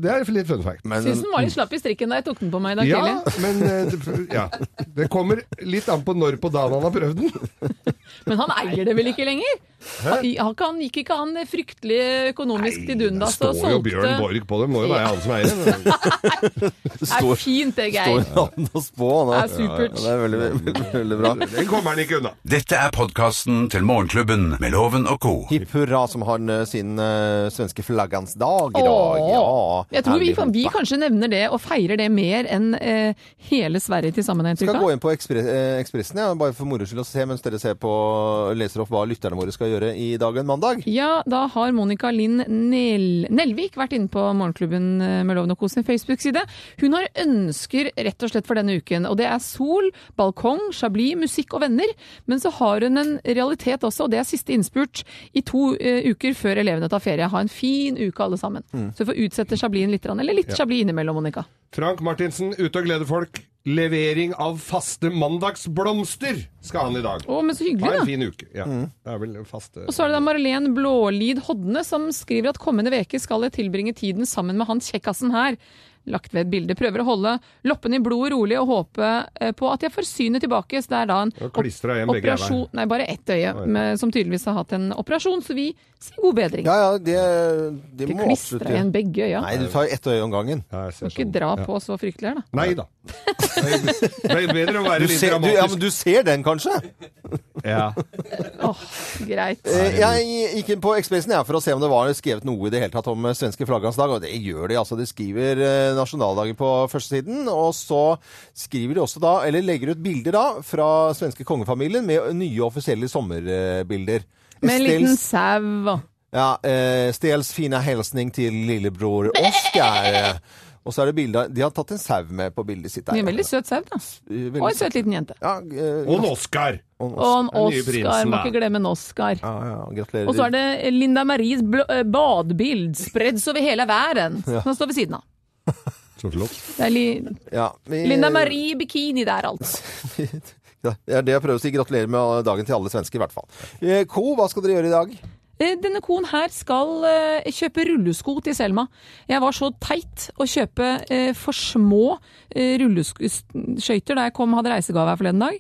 Speaker 4: det er litt fun fact.
Speaker 2: Men
Speaker 3: Syns den var litt slapp i strikken da jeg tok den på meg i dag
Speaker 4: Ja,
Speaker 3: tidlig.
Speaker 4: men eh, det, ja. det kommer litt an på når på dagen han har prøvd den.
Speaker 3: Men han eier det vel ikke lenger? Han, han, kan- gikk ikke han fryktelig økonomisk til
Speaker 4: Det
Speaker 3: dundas og
Speaker 4: står jo
Speaker 3: solgte
Speaker 4: Bjørn Borg på det, må jo være
Speaker 3: Ja.
Speaker 4: han som eier det.
Speaker 2: det
Speaker 3: Det er
Speaker 2: står
Speaker 3: fint, det,
Speaker 2: står
Speaker 3: Geir.
Speaker 2: an å spå.
Speaker 3: Det
Speaker 2: da.
Speaker 3: er supert.
Speaker 2: Ja, det er veldig, [laughs] veldig, veldig bra.
Speaker 4: Det kommer han ikke unna.
Speaker 1: Dette er podkasten til Morgenklubben med Loven og Co.
Speaker 2: Hipp hurra som har eh, sin eh, svenske flaggans dag i dag.
Speaker 3: Åh.
Speaker 2: Ja.
Speaker 3: jeg tror vi,
Speaker 2: Herlig
Speaker 3: kan, vi
Speaker 2: fotball.
Speaker 3: kanskje nevner det og feirer det mer enn eh, hele Sverige til sammen. har jeg inntrykk
Speaker 2: skal
Speaker 3: av.
Speaker 2: gå inn på ekspre eh, Ekspressen, ja, bare for moro skyld å se, mens dere ser på leser opp hva lytterne våre skal gjøre i dag en mandag.
Speaker 3: Ja, da har Monica Linn Nel Nelvik vært inne på Morgenklubben eh, med Loven og Co. sin Facebook-side. Hun har ønsker rett og slett for denne uken, og det er sol, balkong, chablis, musikk og venner. Men så har hun en realitet også, og det er siste innspurt i to eh, uker før elevene tar ferie. Ha en fin uke alle
Speaker 2: Mm.
Speaker 3: sammen. Så vi får utsette chablisen litt, grann, eller litt chablis innimellom, Monica.
Speaker 4: Frank Martinsen, ute og glede folk. Levering av faste mandagsblomster skal han i dag.
Speaker 3: Å, men så
Speaker 4: Ha en
Speaker 3: hyggelig, da.
Speaker 4: fin uke. Ja, det er vel faste
Speaker 3: Og så er det da Marlen Blålid Hodne som skriver at kommende veke skal jeg tilbringe tiden sammen med han kjekkasen her. Lagt ved et bilde. Prøver å holde loppene i blodet rolig og håpe eh, på at jeg får synet tilbake. Så det er da en
Speaker 4: Og klistra igjen begge
Speaker 3: operasjon Nei, bare ett øye, med, som tydeligvis har hatt en operasjon, så vi sier god bedring.
Speaker 2: Ja, ja, det, det må absolutt
Speaker 3: Klistra igjen begge øya.
Speaker 2: Nei, du tar ett øye om gangen.
Speaker 4: Ja, jeg ser
Speaker 3: Ikke
Speaker 4: sånn.
Speaker 3: dra
Speaker 4: Ja.
Speaker 3: på så fryktelig her, da.
Speaker 4: Nei da. Det er bedre å være
Speaker 2: Du
Speaker 4: litt
Speaker 2: ser, du, ja, men
Speaker 4: dramatisk.
Speaker 2: du ser den, kanskje?
Speaker 4: Ja.
Speaker 3: Åh, greit.
Speaker 2: Eh, Jeg gikk inn på Expressen jeg, for å se om det var skrevet noe i det hele tatt om eh, svenske flaggdagsdag, og det gjør de. altså. De skriver eh, nasjonaldagen på førstesiden, og så skriver de også da, eller legger ut bilder da, fra svenske kongefamilien med nye offisielle sommerbilder.
Speaker 3: Med en liten
Speaker 2: Estelles-
Speaker 3: sau og
Speaker 2: ja, eh, Stels fina hilsning til
Speaker 3: [laughs]
Speaker 2: lillebror Oskar. eh, Og så er det bilder De har tatt en sau med på bildet sitt. der.
Speaker 3: En veldig søt sau, da.
Speaker 2: Eh, veldig
Speaker 3: Og en søt liten jente.
Speaker 2: Ja, eh,
Speaker 4: Og en Oscar!
Speaker 3: Og en
Speaker 4: Den nye
Speaker 3: Oscar.
Speaker 4: prinsen,
Speaker 3: Må
Speaker 4: da.
Speaker 3: ikke glemme en Oscar.
Speaker 2: ja, ja, gratulerer.
Speaker 3: Og så er det Linda Maries bl- eh, badbild spredd over hele verden. Som står ved siden av.
Speaker 4: Så flott.
Speaker 3: Det er li
Speaker 2: Ja, vi-
Speaker 3: Linda Marie i bikini der, altså.
Speaker 2: [laughs] Ja, det er det jeg prøver å si. Gratulerer med dagen til alle svensker, i hvert fall. Eh, Co, hva skal dere gjøre i dag?
Speaker 3: Eh, Denne koen her skal eh, kjøpe rullesko til Selma. Jeg var så teit å kjøpe eh, for små eh, rulleskøyter da jeg kom hadde reisegave her forleden dag.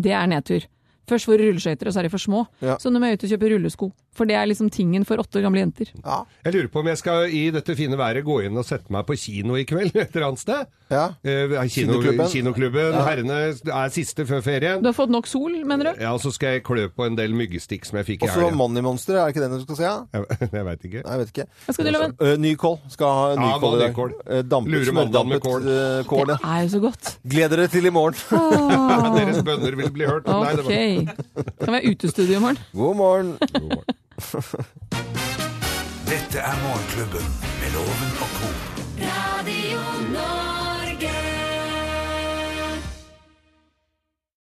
Speaker 3: Det er nedtur. Først får du rulleskøyter, og så er de for små.
Speaker 2: Ja.
Speaker 3: Så nå må jeg ut og kjøpe rullesko. For det er liksom tingen for åtte år gamle jenter.
Speaker 4: Jeg lurer på om jeg skal i dette fine været gå inn og sette meg på kino i kveld et eller annet sted.
Speaker 2: Ja.
Speaker 4: Eh, kino,
Speaker 2: Kinoklubben.
Speaker 4: kinoklubben. Herrene er siste før
Speaker 3: Du
Speaker 4: ferien.
Speaker 3: har fått nok sol, mener du?
Speaker 4: Ja, og så skal jeg klø på en del myggstikk som jeg fikk i
Speaker 2: Og så Ah.
Speaker 4: helga.
Speaker 2: Money Monster, er det ikke den du skal se? Ja?
Speaker 4: Jeg, [laughs] jeg veit ikke.
Speaker 2: Nei, jeg vet ikke.
Speaker 3: Hva skal du lage?
Speaker 2: Eh, Nykål. Skal ha
Speaker 4: Ja,
Speaker 2: nykål i
Speaker 4: hva
Speaker 2: dag.
Speaker 4: nykål?
Speaker 2: Eh, Dampet,
Speaker 4: Lurer mandagen
Speaker 2: smørdampet
Speaker 4: med kål.
Speaker 2: eh, kål.
Speaker 3: Det
Speaker 2: Ja.
Speaker 3: er jo så godt.
Speaker 2: Gled dere til i morgen.
Speaker 4: Deres bønner vil bli hørt. Nei, det
Speaker 3: Ok.
Speaker 4: var...
Speaker 3: Kan være utestudio i morgen.
Speaker 2: God morgen.
Speaker 1: Dette er Morgenklubben med Loven og co.
Speaker 6: Radio Norge.